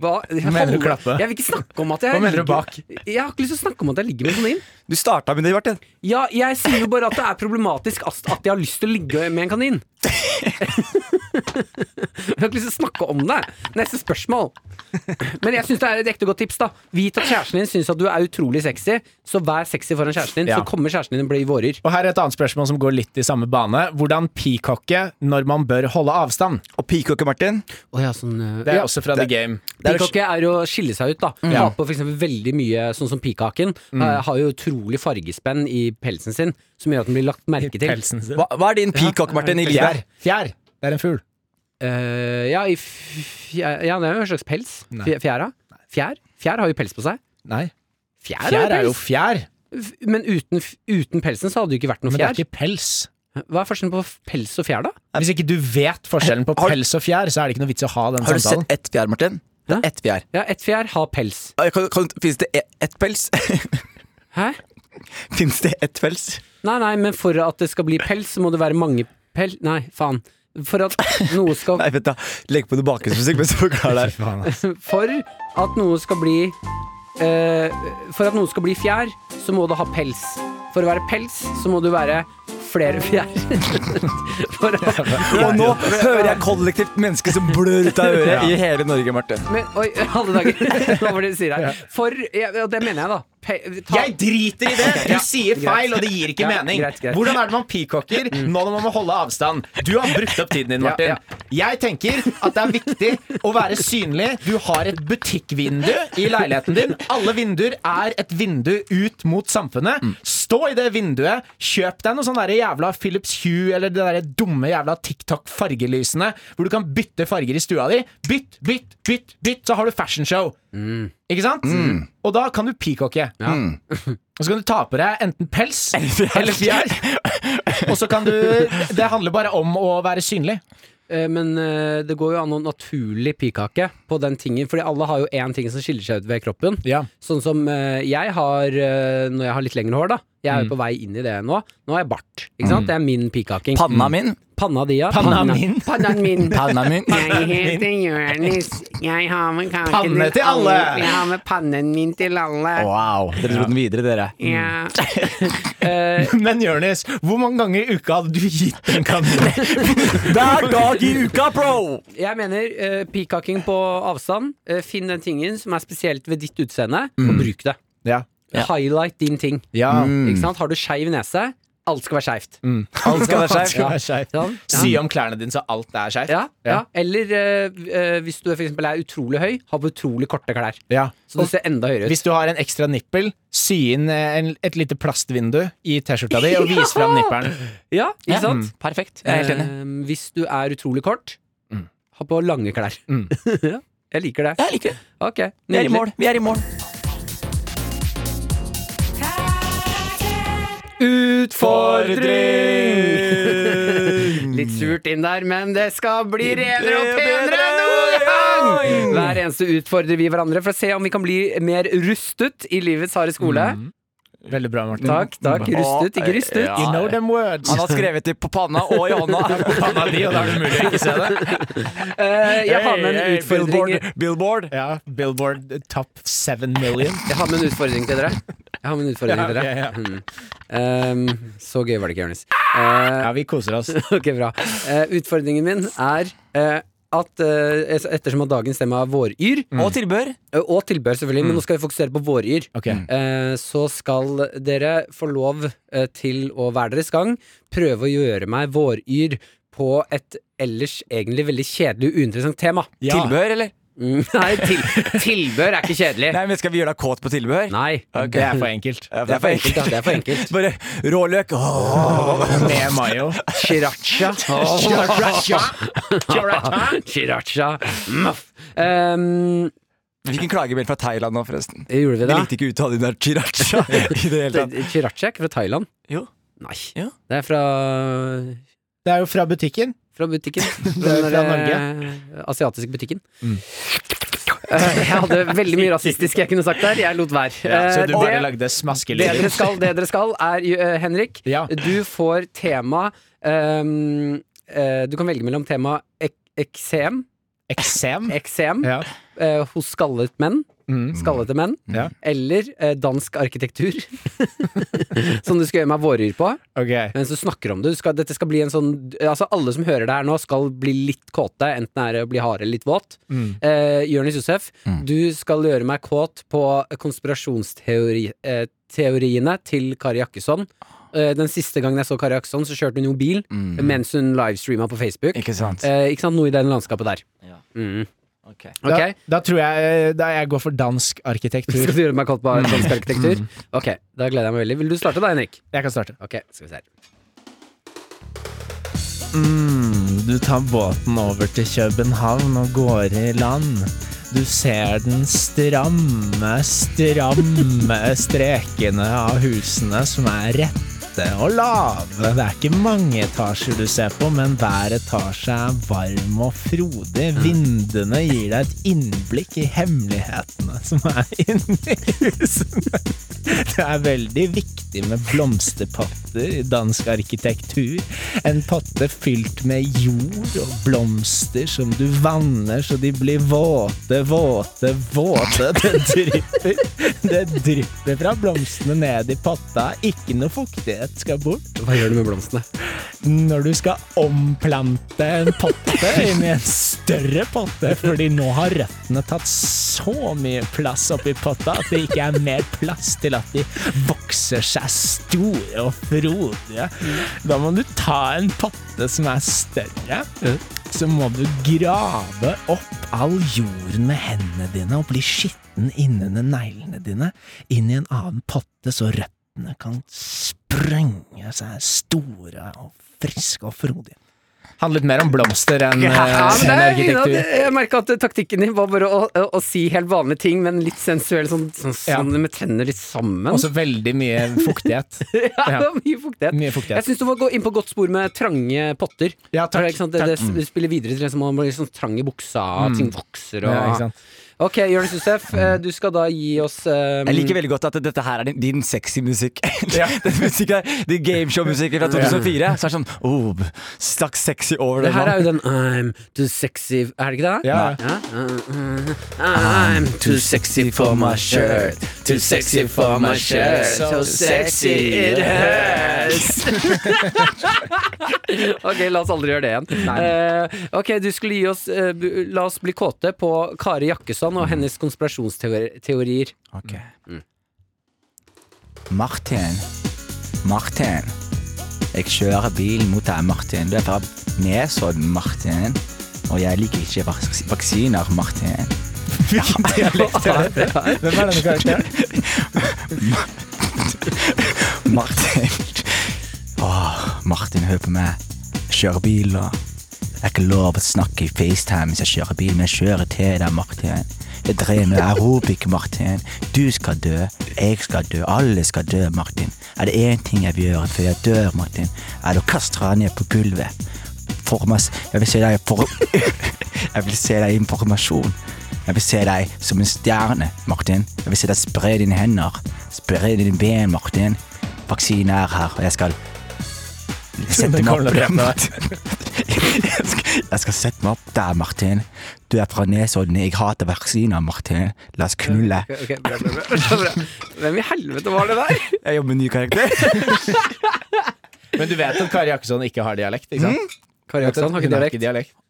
Speaker 2: Hva
Speaker 3: mener du klappe?
Speaker 2: Jeg vil ikke snakke om at jeg
Speaker 3: Hva mener du
Speaker 2: ligger-
Speaker 3: bak?
Speaker 2: Jeg har ikke lyst til å snakke om at jeg ligger med en kanin.
Speaker 4: Du starta med det, Martin.
Speaker 2: Ja, jeg sier jo bare at det er problematisk at at jeg har lyst til å ligge med en kanin. Jeg har ikke lyst til å snakke om det. Neste spørsmål. Men jeg syns det er et ekte godt tips. da Vit at kjæresten din syns at du er utrolig sexy, så vær sexy foran kjæresten din.
Speaker 3: Ja.
Speaker 2: Så kommer kjæresten din og blir vårer.
Speaker 3: Og her er et annet spørsmål som går litt i samme bane. Hvordan peacocke når man bør holde avstand?
Speaker 4: Og peacocker, Martin.
Speaker 2: Å ja, sånn
Speaker 3: Det er også fra The Game.
Speaker 4: er jo-
Speaker 2: Peacock er jo å skille seg ut, da.
Speaker 3: Mm.
Speaker 2: Har på f.eks. veldig mye, sånn som peacocken, eh, har jo utrolig fargespenn i pelsen sin, som gjør at den blir lagt merke til.
Speaker 3: Pelsen sin.
Speaker 4: Hva, hva er din peacock, Martin, i
Speaker 3: Fjær.
Speaker 4: livet?
Speaker 3: Fjær. Det er en fugl.
Speaker 2: Eh, ja, i f- ja, ja, det er jo en slags pels.
Speaker 3: Nei.
Speaker 2: Fj- Fjæra. Fjær. Fjær har jo pels på seg.
Speaker 3: Nei.
Speaker 2: Fjær,
Speaker 3: Fjær er jo
Speaker 2: pels.
Speaker 3: fjær,
Speaker 2: F- Men uten, f- uten pelsen så hadde det jo ikke vært noe
Speaker 3: men det er
Speaker 2: fjær.
Speaker 3: ikke pels.
Speaker 2: Hva er forskjellen på f- pels og fjær, da?
Speaker 3: Hvis ikke du vet forskjellen på
Speaker 4: Har-
Speaker 3: pels og fjær, så er det ikke noe vits i å ha den
Speaker 4: Har du sett
Speaker 3: samtalen.
Speaker 4: ett fjær, Martin? Det
Speaker 2: Hæ?
Speaker 4: er ett fjær.
Speaker 2: Ja, ett fjær har pels.
Speaker 4: Eh, Kan, kan, finnes det e- ett pels?
Speaker 2: Hæ?
Speaker 4: finnes det ett pels?
Speaker 2: Nei, nei, men for at det skal bli pels, så må det være mange pels Nei, faen. For at noe skal
Speaker 4: Nei, vent da. Legg på noe bakgrunnsmusikk mens du forklarer deg.
Speaker 2: For at noe skal bli eh, For at noe skal bli fjær, så må det ha pels. For å være pels, så må du være flere fjær. for å,
Speaker 4: Og nå hører jeg kollektivt menneske som blør ut av øret i hele Norge, Martin.
Speaker 2: men, oi, alle dager. Hva var det du sier her? For, ja, og det mener jeg, da. pe... Ta...
Speaker 3: Jeg driter i det! Du sier feil, og det gir ikke
Speaker 2: Ja,
Speaker 3: mening.
Speaker 2: greit, greit.
Speaker 3: Hvordan er det man peacocker nå når man må holde avstand? Du har brukt opp tiden din, Martin.
Speaker 2: Ja,
Speaker 3: Jeg tenker at det er viktig å være synlig. Du har et butikkvindu i leiligheten din. Alle vinduer er et vindu ut mot samfunnet. Stå i det vinduet, kjøp deg noe sånn der jævla Philips Hue eller det der dumme jævla TikTok-fargelysene hvor du kan bytte farger i stua di. Bytt, bytt, bytt, bytt, så har du fashion show. Ikke sant? Og da kan du peacocke. Mm. Og så kan du ta på deg enten pels eller fjær. Og så kan du Det handler bare om å være synlig.
Speaker 2: Eh, Men eh, det går jo an å naturlig pikake på den tingen, fordi alle har jo én ting som skiller seg ut ved kroppen.
Speaker 3: Ja.
Speaker 2: Sånn som eh, jeg har eh, når jeg har litt lengre hår, da. Jeg er jo
Speaker 3: Mm.
Speaker 2: på vei inn i det nå. Nå har jeg bart. Ikke sant? Det er min pikaking.
Speaker 4: Panna min.
Speaker 2: Panna di, ja.
Speaker 3: Panna min.
Speaker 2: Panna min.
Speaker 4: Panna min.
Speaker 5: Jeg heter Jonis. Jeg har med kake
Speaker 3: Panne til alle.
Speaker 5: Jeg har med pannen min til alle.
Speaker 4: Wow. Dere dro den videre, dere.
Speaker 5: Ja.
Speaker 3: Men Jonis, hvor mange ganger i uka hadde du gitt en kanin?
Speaker 4: Hver dag i uka, bro!
Speaker 2: Jeg mener uh, pikaking på avstand. Eh, finn den tingen som er spesielt ved ditt utseende, og bruk det.
Speaker 3: Ja.
Speaker 4: Ja.
Speaker 2: Highlight din ting. Mm.
Speaker 3: ja.
Speaker 2: Ikke sant? Har du skeiv nese, alt skal være skeivt.
Speaker 4: Alt skal være
Speaker 3: Skal
Speaker 4: skjevt.
Speaker 3: være skeiv.
Speaker 2: Sånn? Ja.
Speaker 3: Si om klærne dine så alt er skeivt.
Speaker 2: Ja, ja. Eller eh, eh, hvis du for eksempel er utrolig høy, ha på utrolig korte klær.
Speaker 3: Ja.
Speaker 2: Så du ser enda høyere ut.
Speaker 3: Hvis du har en ekstra nippel, sy inn eh, en, et lite plastvindu i T-skjorta di og vis fram nippelen.
Speaker 2: Ja, ikke sant?
Speaker 4: Mm. Perfekt. Jeg er helt enig. Mm.
Speaker 2: Eh, hvis du er utrolig kort, ha på lange klær.
Speaker 3: Mm.
Speaker 2: ja, jeg liker det.
Speaker 4: Jeg liker det.
Speaker 2: Ok,
Speaker 4: Vi er i mål. Vi er i mål.
Speaker 2: Utfordring! Litt surt inn der, men det skal bli renere og penere noen gang! Hver eneste utfordrer vi hverandre for å se om vi kan bli mer rustet i livets harde skole.
Speaker 3: Veldig bra, Mm. Martin.
Speaker 2: Takk, takk. Rustet, ikke rystet.
Speaker 4: Mm. Ja.
Speaker 3: You know them words.
Speaker 4: Han har skrevet det på panna og i hånda.
Speaker 3: Panna di, og da er det mulig å ikke se det.
Speaker 2: Eh, jeg har med en utfordring
Speaker 4: Billboard. Billboard.
Speaker 3: Ja, Billboard eh, top seven million.
Speaker 2: Jeg har med en utfordring til dere. Jeg har med en utfordring
Speaker 3: Ja,
Speaker 2: til dere
Speaker 3: ja, ja.
Speaker 2: Mm. Ehm, Så gøy var det ikke, Jonis.
Speaker 3: Ja, vi koser oss.
Speaker 2: Ok, bra. Eh, utfordringen min er eh, at eh, ettersom at dagens tema er våryr,
Speaker 4: Mm. Og tilbør.
Speaker 2: eh, og tilbør selvfølgelig, men nå skal vi fokusere på våryr,
Speaker 3: Ok.
Speaker 2: eh, så skal dere få lov eh, til å hver deres gang prøve å gjøre meg våryr på et ellers egentlig veldig kjedelig og uinteressant tema.
Speaker 3: Ja.
Speaker 4: Tilbør, eller?
Speaker 2: Mm, Nei, til, tilbør er ikke kjedelig.
Speaker 4: Nei, men Skal vi gjøre deg kåt på tilbør?
Speaker 2: Nei.
Speaker 3: Det er for enkelt.
Speaker 2: Det er for enkelt, ja. Det er for enkelt.
Speaker 4: Bare råløk. Åh.
Speaker 3: Med mayo.
Speaker 2: Sriracha. Sriracha. Muff. Um,
Speaker 4: Vi fikk en klagemelding fra Thailand nå, forresten.
Speaker 2: gjorde vi
Speaker 4: Vi
Speaker 2: det?
Speaker 4: likte ikke uttalen din der chiracha i det hele tatt.
Speaker 2: Det- Sriracha er ikke fra Thailand.
Speaker 4: Jo.
Speaker 2: Nei.
Speaker 4: Ja.
Speaker 2: Det er fra,
Speaker 3: Det er jo fra butikken.
Speaker 2: fra butikken.
Speaker 3: er fra
Speaker 2: Norge. asiatiske butikken.
Speaker 3: Mm.
Speaker 2: Eh, jeg hadde veldig mye rasistisk jeg kunne sagt der. Jeg lot være.
Speaker 3: så
Speaker 2: Eh,
Speaker 3: du bare
Speaker 2: det-
Speaker 3: lagde
Speaker 2: det dere
Speaker 3: smaskelyder.
Speaker 2: skal, det dere skal er, eh, Henrik,
Speaker 3: Ja.
Speaker 2: du får tema ehm, eh, Du kan velge mellom tema ek eksem,
Speaker 3: Eksem.
Speaker 2: eksem
Speaker 3: Ja.
Speaker 2: eh, hos skallet menn,
Speaker 3: Mm.
Speaker 2: skallete menn,
Speaker 3: Ja.
Speaker 2: eller eh, dansk arkitektur, som du skal gjøre meg våryr på,
Speaker 3: Ok.
Speaker 2: mens du snakker om det. Du skal, dette skal bli en sånn Altså, alle som hører det her nå, skal bli litt kåte, enten er det å bli harde eller litt våt.
Speaker 3: Mm.
Speaker 2: Eh, Jonis Josef,
Speaker 4: Mm.
Speaker 2: du skal gjøre meg kåt på konspirasjonsteoriene eh, teoriene til Kari Jakkesson. Eh, den siste gangen jeg så Kari Jakkesson, så kjørte hun jo bil
Speaker 4: Mm.
Speaker 2: mens hun livestreama på Facebook.
Speaker 4: Ikke sant?
Speaker 2: Eh, ikke sant, Noe i det landskapet der.
Speaker 4: Ja.
Speaker 2: Mm.
Speaker 4: Ok.
Speaker 3: Da,
Speaker 2: Ok.
Speaker 3: da tror jeg eh, da jeg går for dansk arkitektur.
Speaker 2: Skal du gjøre meg kalt på dansk arkitektur?
Speaker 4: Mm.
Speaker 2: Ok, da gleder jeg meg veldig. Vil du starte da, Henrik?
Speaker 3: Jeg kan starte.
Speaker 2: Ok, skal vi se her.
Speaker 3: Mm, Du tar båten over til København og går i land. Du ser den stramme, stramme strekene av husene som er rette og lave. Det er ikke mange etasjer du ser på, men hver etasje er varm og frodig. Vinduene gir deg et innblikk i hemmelighetene som er inni husene. Det er veldig viktig med blomsterpotter i dansk arkitektur. En potte fylt med jord og blomster som du vanner så de blir våte, våte, våte. Det drypper. Det drypper fra blomstene ned i potta. Ikke noe fuktighet et skal bort
Speaker 2: Hva gjør du med blomstene?
Speaker 3: når du skal omplante en potte inn i en større potte, fordi nå har røttene tatt så mye plass oppi potta at det ikke er mer plass til at de vokser seg store og frodige. Da må du ta en potte som er større, så må du grave opp all jorden med hendene dine og bli skitten innunder neglene dine inn i en annen potte, så røttene kan sprenge seg store og friske og frodige. Handlet mer om blomster enn eh,
Speaker 2: Ja, men det
Speaker 3: enn
Speaker 2: er, fint at- jeg merka at taktikken din var bare å, å, å si helt vanlige ting, men litt sensuell, sånn, sånn,
Speaker 3: Ja.
Speaker 2: sånn med tennene litt sammen.
Speaker 3: Også veldig mye fuktighet.
Speaker 2: ja, det var mye fuktighet.
Speaker 3: Mye fuktighet.
Speaker 2: Jeg syns du var gå- inn på godt spor med trange potter.
Speaker 3: Ja, takk, Mm.
Speaker 2: Det er Ikke sant? Det, det s- spiller videre til det som om man blir sånn trang i buksa, ting vokser og
Speaker 3: Ja, ikke sant?
Speaker 2: Ok, Jonis Josef, eh, du skal da gi oss eh,
Speaker 4: Jeg liker veldig godt at dette her er din, din sexy musikk. Den musikken her, din gameshow-musikken fra 2004. Så er det sånn oh, Stakk sexy over
Speaker 2: Det
Speaker 4: den.
Speaker 2: her er jo den
Speaker 4: mann.
Speaker 2: I'm too sexy Er det ikke det?
Speaker 3: Ja.
Speaker 2: Uh, I'm too sexy for my shirt, too sexy for my shirt, so sexy it hurts. ok, la oss aldri gjøre det igjen. Eh, ok, du skulle gi oss eh, bu- La oss bli kåte på Kari Jakkesson og hennes konspirasjonsteorier.
Speaker 4: Ok. Martin. Martin. Jeg kjører bil mot deg, Martin. Du er fra Nesodden, Martin. Og jeg liker ikke vaks vaksiner, Martin.
Speaker 3: Hvem er denne karakteren?
Speaker 4: Martin. Åh, Martin, hør på meg. Jeg kjører bil, da. Det er ikke lov å snakke i FaceTime mens jeg kjører bil, men jeg kjører til deg, Martin. Jeg drev med aerobic, Martin. Du skal dø, jeg skal dø, alle skal dø, Martin. Er det én ting jeg vil gjøre før jeg dør, Martin, er det å kaste deg ned på gulvet. Formas jeg vil se deg i for... Jeg vil se deg i informasjon. Jeg vil se deg som en stjerne, Martin. Jeg vil se deg spre dine hender. Spre dine ben, Martin. Vaksinen er her, og jeg skal sette
Speaker 3: Den
Speaker 4: meg
Speaker 3: kommer til å
Speaker 4: opp der,
Speaker 3: drepe
Speaker 4: Martin. Jeg skal, jeg skal sette meg opp der, Martin. Du er fra Nesodden. Jeg hater vaksiner, Martin. La oss knulle.
Speaker 2: Ok, ok, bra, bra, bra, bra. Hvem i helvete var det der?
Speaker 4: Jeg jobber med ny karakter.
Speaker 3: Men du vet at Kari Jakkesson ikke har dialekt, ikke sant?
Speaker 2: Kari Jakkesson har ikke dialekt.
Speaker 3: dialekt.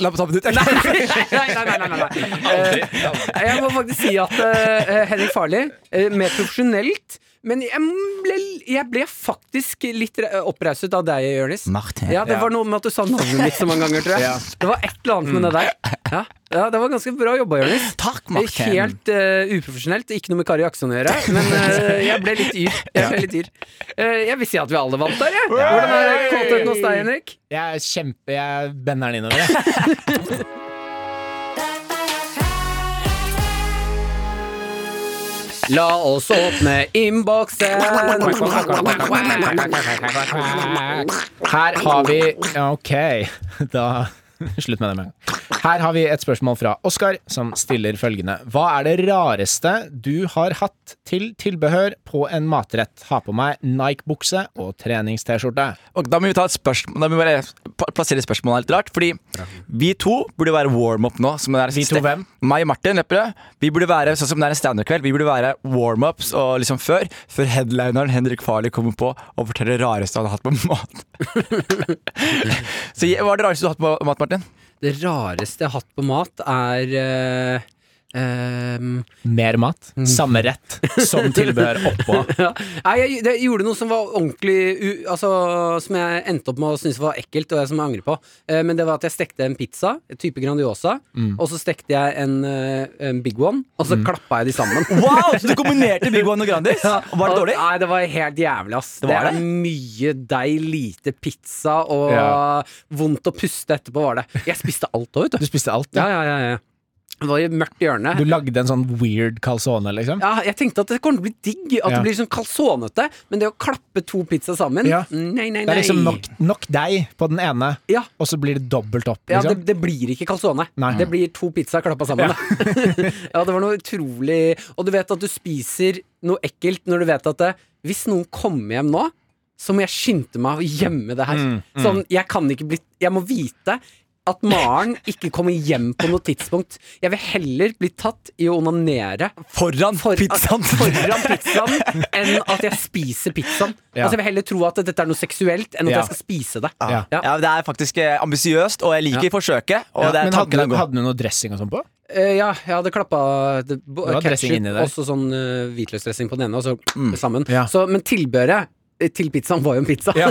Speaker 4: La meg ta på nytt.
Speaker 2: Nei, nei, nei, nei, nei, nei. Eh, Jeg må faktisk si at eh, Henrik Farley, eh, mer profesjonelt Men jeg ble, jeg ble faktisk litt re- opprauset av deg, Jonis.
Speaker 4: Martin.
Speaker 2: Ja, det var noe med at du sa navnet mitt så mange ganger, tror jeg.
Speaker 3: Ja.
Speaker 2: Det var et eller annet med det der. Ja, ja det var ganske bra jobba, Jonis.
Speaker 4: Takk, Martin.
Speaker 2: Helt eh, uprofesjonelt. Ikke noe med Kari Akson å gjøre, men eh, jeg ble litt yr. Jeg, ble litt yr. Eh, jeg vil si at vi alle vant der, jeg. Hvordan er kåtheten hos deg, Henrik?
Speaker 3: Jeg er kjempe... Jeg bender den innover. jeg.
Speaker 2: La oss åpne innboksen.
Speaker 3: Her har vi ja, Ok, da Slutt med det med en gang. Her har vi et spørsmål fra Oskar, som stiller følgende. Hva er det rareste du har hatt til tilbehør på en matrett? Ha på meg Nike-bukse og trenings-T-skjorte.
Speaker 4: Og da må vi ta et spørsmål Da må vi bare pla- plassere spørsmålet litt rart. Fordi vi to burde være warm-up nå. Som det er
Speaker 3: Vi to hvem?
Speaker 4: Meg og Martin Lepperød. Vi burde være sånn som det er en standup-kveld. Vi burde være warm-ups og liksom før. Før headlineren Henrik Farley kommer på og forteller det rareste han har hatt på mat. Så jeg- hva er det rareste du har hatt på mat, Martin?
Speaker 2: Det rareste jeg har hatt på mat, er eh, ehm,
Speaker 3: Mer mat. Samme rett som tilbehør oppå.
Speaker 2: ja. Nei, jeg, det, jeg gjorde noe som var ordentlig u, altså, Som jeg endte opp med å synes var ekkelt, og jeg, som jeg angrer på. Eh, men det var at jeg stekte en pizza, en type Grandiosa, og så stekte jeg en, eh, en Big One, og så klappa jeg de sammen.
Speaker 4: Wow, så du kombinerte Big One og Grandis?
Speaker 2: Ja,
Speaker 4: Og var det
Speaker 2: og-
Speaker 4: dårlig?
Speaker 2: Nei, det var helt jævlig, ass. Det,
Speaker 4: Det var
Speaker 2: er
Speaker 4: det?
Speaker 2: mye deig, lite pizza og
Speaker 3: Ja.
Speaker 2: vondt å puste etterpå, var det. Jeg spiste alt òg, vet
Speaker 3: Du
Speaker 2: du.
Speaker 3: spiste alt,
Speaker 2: Ja,
Speaker 3: ja.
Speaker 2: ja, ja, ja. Det var i et mørkt hjørne.
Speaker 3: Du lagde en sånn weird calzone, liksom.
Speaker 2: Ja, jeg tenkte at det kommer til å bli digg, at
Speaker 3: Ja.
Speaker 2: det blir sånn kalsonete, men det å klappe to pizza sammen
Speaker 3: Ja.
Speaker 2: Nei, nei, nei.
Speaker 3: Det er liksom nok, nok deig på den ene,
Speaker 2: Ja.
Speaker 3: og så blir det dobbelt opp,
Speaker 2: Ja, det,
Speaker 3: liksom.
Speaker 2: det blir ikke calzone.
Speaker 3: Nei.
Speaker 2: Det blir to pizzaer klappa sammen. Ja. ja, det var noe utrolig Og du vet at du spiser noe ekkelt når du vet at det, hvis noen kommer hjem nå, så må jeg skynde meg å gjemme det her. Sånn, jeg kan ikke bli Jeg må vite at Maren ikke kommer hjem på noe tidspunkt. Jeg vil heller bli tatt i å onanere
Speaker 4: Foran
Speaker 2: for-
Speaker 4: pizzaen.
Speaker 2: foran pizzaen enn at jeg spiser pizzaen.
Speaker 6: Ja.
Speaker 2: Altså Jeg vil heller tro at dette er noe seksuelt enn at
Speaker 6: Ja.
Speaker 2: jeg skal spise det.
Speaker 6: Ja.
Speaker 2: Ja.
Speaker 4: Ja, Det er faktisk eh, ambisiøst, og jeg liker forsøket. Og det
Speaker 6: men
Speaker 4: er
Speaker 6: hadde,
Speaker 4: tanken er
Speaker 6: du-
Speaker 4: god.
Speaker 6: hadde du noe dressing og sånn på?
Speaker 2: Eh, ja, jeg hadde klappa det, bo-
Speaker 6: Du har dressing
Speaker 2: ketchup,
Speaker 6: inni der. Mm.
Speaker 2: og så sånn uh, hvitløksdressing på den ene, og så sammen.
Speaker 6: Ja.
Speaker 2: Så, men tilbehøret eh, til pizzaen var jo en pizza.
Speaker 6: Ja.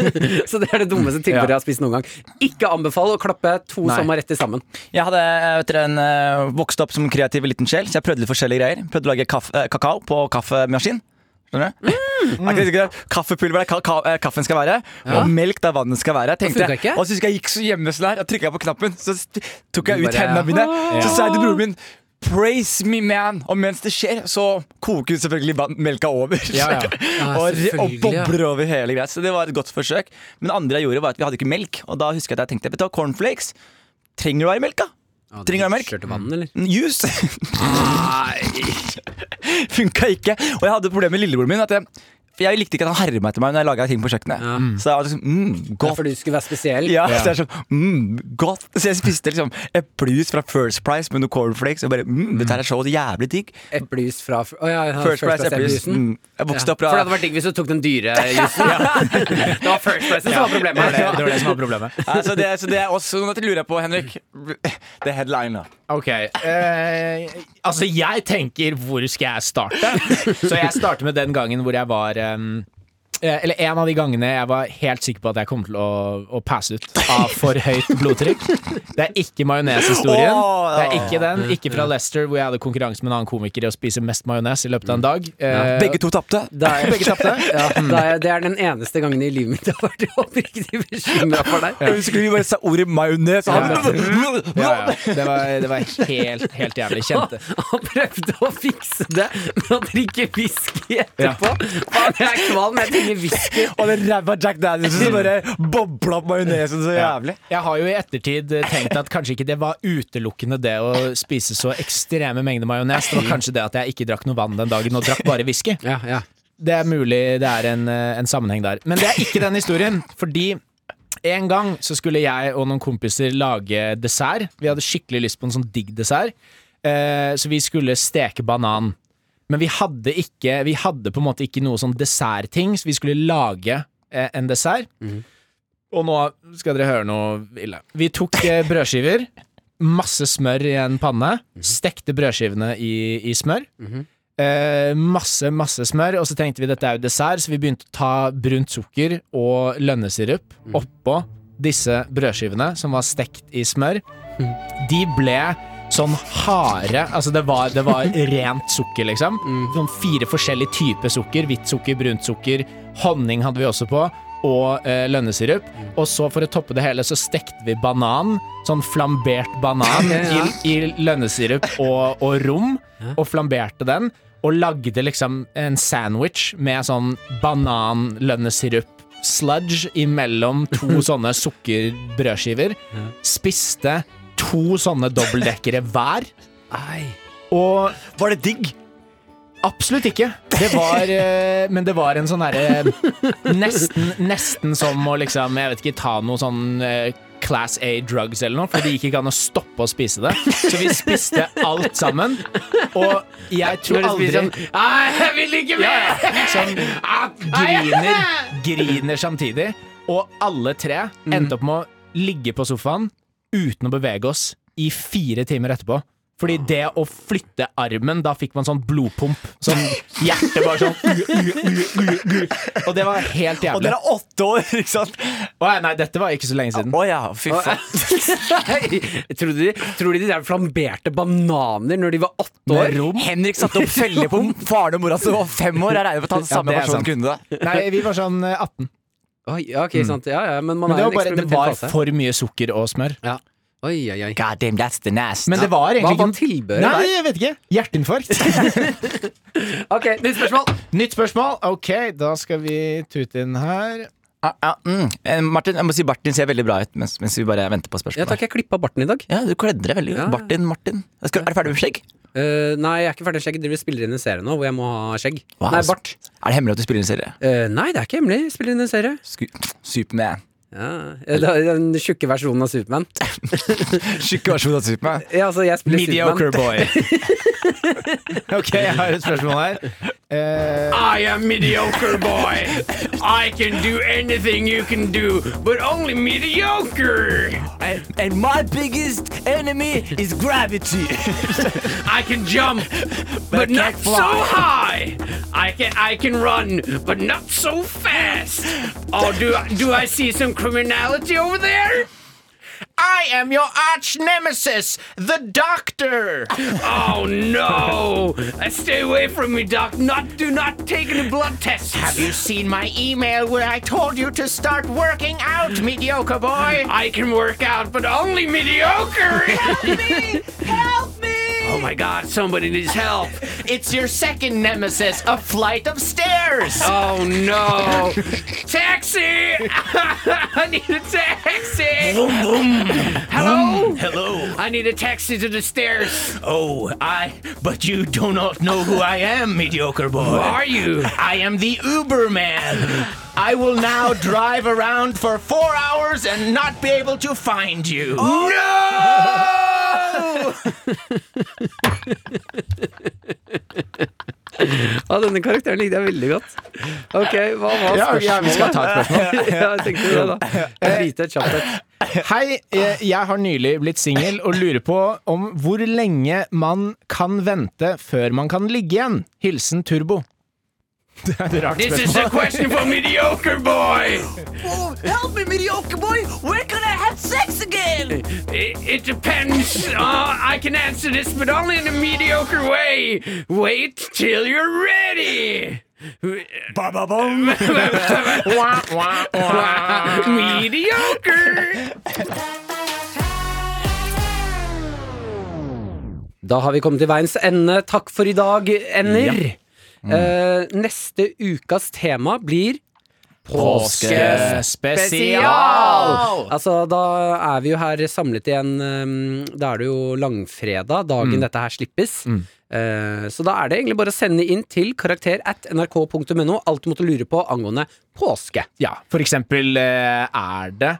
Speaker 2: så det er det dummeste tilbehøret jeg har spist noen gang. Ikke anbefal å klappe to
Speaker 6: Nei.
Speaker 2: som var rett i sammen.
Speaker 4: Jeg hadde eh, vet dere, en, eh, vokst opp som kreativ liten sjel, så jeg prøvde litt forskjellige greier. Prøvde å lage kaff- eh, kakao på kaffemaskin. Skjønner du?
Speaker 2: Mm.
Speaker 4: Er ikke det sikkert? Kaffepulver er ka ka eh, kaffen skal være, og melk der vannet skal være. Tenkte
Speaker 2: funket
Speaker 4: jeg.
Speaker 2: ikke?
Speaker 4: Og så husker jeg jeg gikk så hjemmeslær og trykka på knappen, så st- tok jeg
Speaker 2: Du
Speaker 4: ut
Speaker 2: bare-
Speaker 4: hendene mine. Så sa jeg til broren min Praise me, man! Og mens det skjer, så koker jo selvfølgelig vann- melka over.
Speaker 6: Ja, ja.
Speaker 4: og, re- og
Speaker 2: selvfølgelig, ja.
Speaker 4: bobler over hele greia. Så det var et godt forsøk. Men det andre jeg gjorde, var at vi hadde ikke melk. Og da husker jeg at jeg tenkte vet du hva, cornflakes. Trenger du å være melk, da? Trenger du melk? Mm,
Speaker 2: Kjørte vann, eller?
Speaker 4: Juice Funka ikke. Og jeg hadde problemer med lillebroren min. At jeg, for jeg likte ikke at han herret meg til meg når jeg laga ting på kjøkkenet. Så jeg var liksom mm,
Speaker 2: Ja,
Speaker 4: godt.
Speaker 2: fordi du skulle være spesiell.
Speaker 4: Ja, Så jeg er sånn, mm, godt Så jeg spiste liksom eplejus fra First Price med noen cornflakes. Og bare mm, dette her er så jævlig digg.
Speaker 2: Eplejus fra Å ja, ja,
Speaker 4: First Price eplejus.
Speaker 2: eplejusen.
Speaker 4: Mm, jeg vokste opp
Speaker 2: For det hadde
Speaker 4: fra
Speaker 2: vært digg hvis du tok den dyre jusen. det var First Price som var
Speaker 6: Det var
Speaker 2: problemet.
Speaker 6: det, det, var det som var problemet.
Speaker 4: Nei, så, det, så det er også noe jeg lurer på, Henrik. Det er headline, da.
Speaker 6: Ok. Eh, altså, jeg tenker hvor skal jeg starte? Så jeg starter med den gangen hvor jeg var em, eh, eller en av de gangene jeg var helt sikker på at jeg kom til å, å passe ut av for høyt blodtrykk. Det er ikke majoneshistorien.
Speaker 4: Åh,
Speaker 6: Det er
Speaker 4: ja.
Speaker 6: ikke den. Ikke fra Leicester, hvor jeg hadde konkurranse med en annen komiker i å spise mest majones i løpet av en dag. Eh,
Speaker 4: Begge to tapte.
Speaker 2: Da er,
Speaker 6: Begge tapte.
Speaker 2: ja, da er, det er den eneste gangen i livet mitt jeg har vært oppriktig bekymra for deg.
Speaker 4: Jeg husker vi bare sa ordet majones. og han-
Speaker 6: Ja, ja. Det, var, det var helt, helt jævlig. Kjente
Speaker 2: Han prøvde å fikse det med å drikke whisky etterpå. Faen, jeg er kvalm, jeg trenger whisky.
Speaker 4: Og den ræva Jack Daniels som bare bobla opp majonesen så jævlig.
Speaker 6: Jeg har jo i ettertid eh, tenkt at kanskje ikke det var utelukkende det å spise så ekstreme mengder majones. Det var kanskje det at jeg ikke drakk noe vann den dagen og drakk bare whisky.
Speaker 2: Ja, ja.
Speaker 6: Det er mulig det er en, eh, en sammenheng der. Men det er ikke den historien, fordi en gang så skulle jeg og noen kompiser lage dessert. Vi hadde skikkelig lyst på en sånn digg dessert, Eh, så vi skulle steke banan. Men vi hadde, ikke, vi hadde på en måte ikke noe sånn dessertting, så vi skulle lage eh, en dessert. Og nå skal dere høre noe ille. Vi tok eh, brødskiver, masse smør i en panne, stekte brødskivene i, i smør. Eh, masse, masse smør, og så tenkte vi dette er jo dessert, så vi begynte å ta brunt sukker og lønnesirup oppå disse brødskivene som var stekt i smør. De ble sånn harde Altså, det var, det var rent sukker, liksom. Sånn fire forskjellige typer sukker. Hvitt sukker, brunt sukker, honning hadde vi også på. Og eh, lønnesirup. Og så, for å toppe det hele, så stekte vi banan. Sånn flambert banan i, i lønnesirup og, og rom. Og flamberte den. Og lagde liksom en sandwich med sånn banan-lønnesirup sludge imellom to sånne sukkerbrødskiver. Spiste to sånne dobbeltdekkere hver. Og
Speaker 4: Var det digg?
Speaker 6: absolutt ikke. Det var eh, Men det var en sånn herre nesten, nesten som å liksom Jeg vet ikke, ta noe sånn eh, Class A drugs eller noe, for det gikk ikke an å stoppe å spise det. Så vi spiste alt sammen. Og jeg tror
Speaker 2: Når du
Speaker 6: aldri sånn-
Speaker 2: spiser sånn Nei, jeg vil ikke mer!
Speaker 6: Som griner, griner samtidig. Og alle tre endte opp med å ligge på sofaen uten å bevege oss i fire timer etterpå. Fordi det å flytte armen, da fikk man sånn blodpump. Sånn hjertet bare sånn u, u, u, u, u. Og det var helt
Speaker 4: Og
Speaker 6: jævlig.
Speaker 4: dere er åtte år, ikke sant?
Speaker 6: Å, nei, dette var ikke så lenge siden.
Speaker 4: Å ja, fy faen.
Speaker 2: Nei, Tror du de, tror du de der flamberte bananer når de var åtte år?
Speaker 6: Med rom.
Speaker 4: Henrik satte opp felle på faren og mora som var fem år. Jeg regner med at han samme
Speaker 6: det er
Speaker 4: person
Speaker 6: sant.
Speaker 4: kunne det.
Speaker 6: Nei, vi var sånn eh, 18.
Speaker 2: Oi, ja, ok, sant. Ja, ja, men man
Speaker 6: Men det
Speaker 2: er liksom
Speaker 6: var,
Speaker 2: en
Speaker 6: bare, det
Speaker 2: eksperimentell
Speaker 6: var
Speaker 2: fase.
Speaker 6: for mye sukker og smør.
Speaker 2: Ja. Oi, oi, oi.
Speaker 4: God damn, that's the nast.
Speaker 6: Men det
Speaker 2: Hva
Speaker 6: var egentlig
Speaker 2: var
Speaker 6: ikke
Speaker 2: tilbehøret
Speaker 6: Nei,
Speaker 2: der?
Speaker 6: jeg vet ikke. Hjerteinfarkt.
Speaker 2: Ok, nytt spørsmål.
Speaker 6: Nytt spørsmål. Ok, da skal vi tute inn her.
Speaker 4: Ja, ja, mm. Eh, Martin, jeg må si Martin ser veldig bra ut mens, mens vi bare venter på
Speaker 2: Ja,
Speaker 4: spørsmålet.
Speaker 2: takk, jeg klippa barten i dag.
Speaker 4: Ja, du kledde deg veldig godt.
Speaker 2: Ja.
Speaker 4: Martin, Martin. Skal, er du ferdig med skjegg?
Speaker 2: Eh, nei, jeg er ikke ferdig med skjegg. Dere spiller inn en serie nå hvor jeg må ha skjegg.
Speaker 4: Wow.
Speaker 2: Nei, bart.
Speaker 4: Er det hemmelig at du spiller en serie?
Speaker 2: Eh, nei, det er ikke hemmelig. Spiller inn en serie.
Speaker 4: Sku- Superman.
Speaker 2: Ja, det er Den tjukke versjonen av Supermann.
Speaker 4: Skikkelig versjon av Superman.
Speaker 2: Ja, altså, jeg spiller
Speaker 4: Mediocre
Speaker 2: Supermann.
Speaker 4: boy.
Speaker 6: Ok, jeg har et spørsmål her. Eh,
Speaker 7: I am mediocre boy. I can do anything you can do, but only mediocre.
Speaker 4: And, and my biggest enemy is gravity.
Speaker 7: I can jump, but not so high. I can I can run, but not so fast. Oh, do I- do I see some criminality over there?
Speaker 6: I am your arch nemesis, the doctor!
Speaker 7: Oh no! Uh, Stay away from me, Doc. Not do not take any blood tests.
Speaker 6: Have you seen my email where I told you to start working out, mediocre boy?
Speaker 7: I can work out, but only mediocre.
Speaker 6: Help me!
Speaker 7: oh my God! Somebody needs help.
Speaker 6: It's your second nemesis, a flight of stairs!
Speaker 7: Oh no! taxi! I need a taxi! Hello?
Speaker 8: Hello.
Speaker 7: I need a taxi to the stairs.
Speaker 8: Oh, I. But you do not know who I am, mediocre
Speaker 7: Who
Speaker 8: boy.
Speaker 7: are you?
Speaker 8: I am the Uberman.
Speaker 6: I will now drive around for four hours and not be able to find you.
Speaker 2: Ja, denne karakteren likte jeg veldig godt. Ok, hva var
Speaker 6: Ja,
Speaker 2: spørsmålet?
Speaker 6: ja, vi skal ta et
Speaker 2: spørsmål. ja, jeg tenkte det, da. Jeg driter et kjapt et.
Speaker 6: Hei, eh, jeg har nylig blitt singel og lurer på om hvor lenge man kan vente før man kan ligge igjen. Hilsen Turbo. Det er et rart
Speaker 7: This is a question for mediocre boy.
Speaker 4: Oh, Help me, mediocre boy. Where can I have sex again?
Speaker 7: It, it depends. Uh, I can answer this, but only in a mediocre way. Wait till you're ready. mediocre.
Speaker 2: Da har vi kommet til veiens ende. Takk for i dag, ender. Eh, neste ukas tema blir
Speaker 3: Eh,
Speaker 2: eh,
Speaker 6: Påskespesial!
Speaker 2: Altså, da er vi jo her samlet igjen. ehm, Da er det jo langfredag, dagen dette her slippes. Eh, så da er det egentlig bare å sende inn til karakter at nrk.no alt du måtte lure på angående påske.
Speaker 6: Ja, for eksempel eh, er det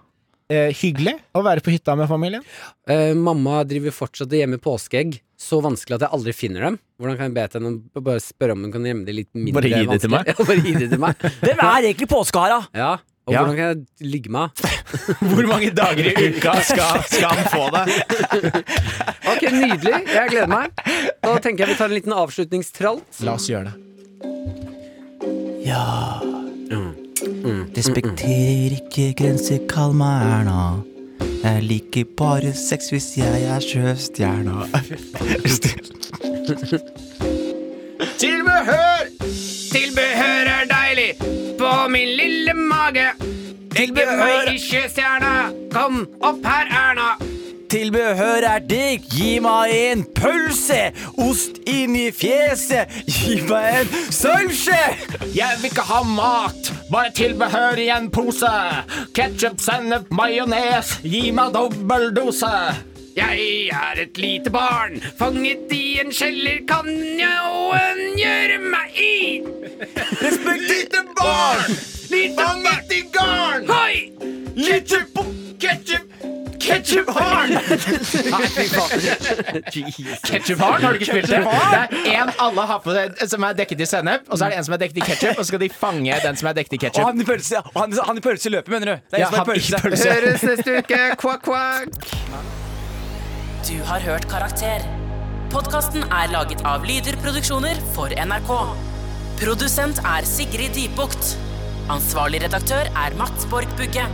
Speaker 6: eh, hyggelig å være på hytta med familien?
Speaker 2: Eh, mamma driver fortsatt og gjemmer påskeegg. Så vanskelig at jeg aldri finner dem. Hvordan kan jeg be til henne om- bare spørre om hun kan gjemme det litt mindre
Speaker 6: Bare gi det til
Speaker 2: vanskelig?
Speaker 6: meg?
Speaker 2: Ja, bare gi det til meg.
Speaker 4: Hvem er egentlig påskehara?
Speaker 2: Ja, og
Speaker 6: Ja.
Speaker 2: hvordan kan jeg ligge med henne?
Speaker 6: Hvor mange dager i uka skal, skal han få det?
Speaker 2: Ok, nydelig. Jeg gleder meg. Da tenker jeg vi tar en liten avslutningstralt.
Speaker 6: La oss gjøre det.
Speaker 4: Respekterer ikke grenser, kall meg Erna. Jeg liker bare sex hvis jeg er sjøstjerna.
Speaker 6: Tilbehør!
Speaker 7: Tilbehør er deilig på min lille mage. Legge meg i sjøstjerna. Kom opp her, Erna.
Speaker 4: Tilbehør er digg, gi meg en pølse! Ost inn i fjeset, gi meg en sølvskje!
Speaker 6: Jeg vil ikke ha mat, bare tilbehør i en pose. Ketchup, sennep, majones, gi meg dobbel dose.
Speaker 7: Jeg er et lite barn, fanget i en kjeller. Kan noen gjøre meg i?
Speaker 6: Lite barn,
Speaker 7: Lite barn,
Speaker 6: i garn.
Speaker 7: hoi!
Speaker 6: Ketchup, ketchup, ketchup-barn. Ketchup-barn, har du ikke spilt det? Det er en alle har på det, som er dekket i sennep, og så er det en som er dekket i ketchup, og så skal de fange den som er dekket i
Speaker 4: Og
Speaker 6: ketchup.
Speaker 4: han i pølse, og han, han i pølse løper, mener du? Det er
Speaker 6: Ja,
Speaker 4: jeg som
Speaker 6: han
Speaker 4: er
Speaker 6: i
Speaker 4: pølse.
Speaker 6: pølse.
Speaker 7: Høres neste uke. Kvakk, kvakk.
Speaker 9: Du har hørt Karakter. Podkasten er laget av Lyder Produksjoner for NRK. Produsent er Sigrid Dybukt. Ansvarlig redaktør er Mats Borg Bugge.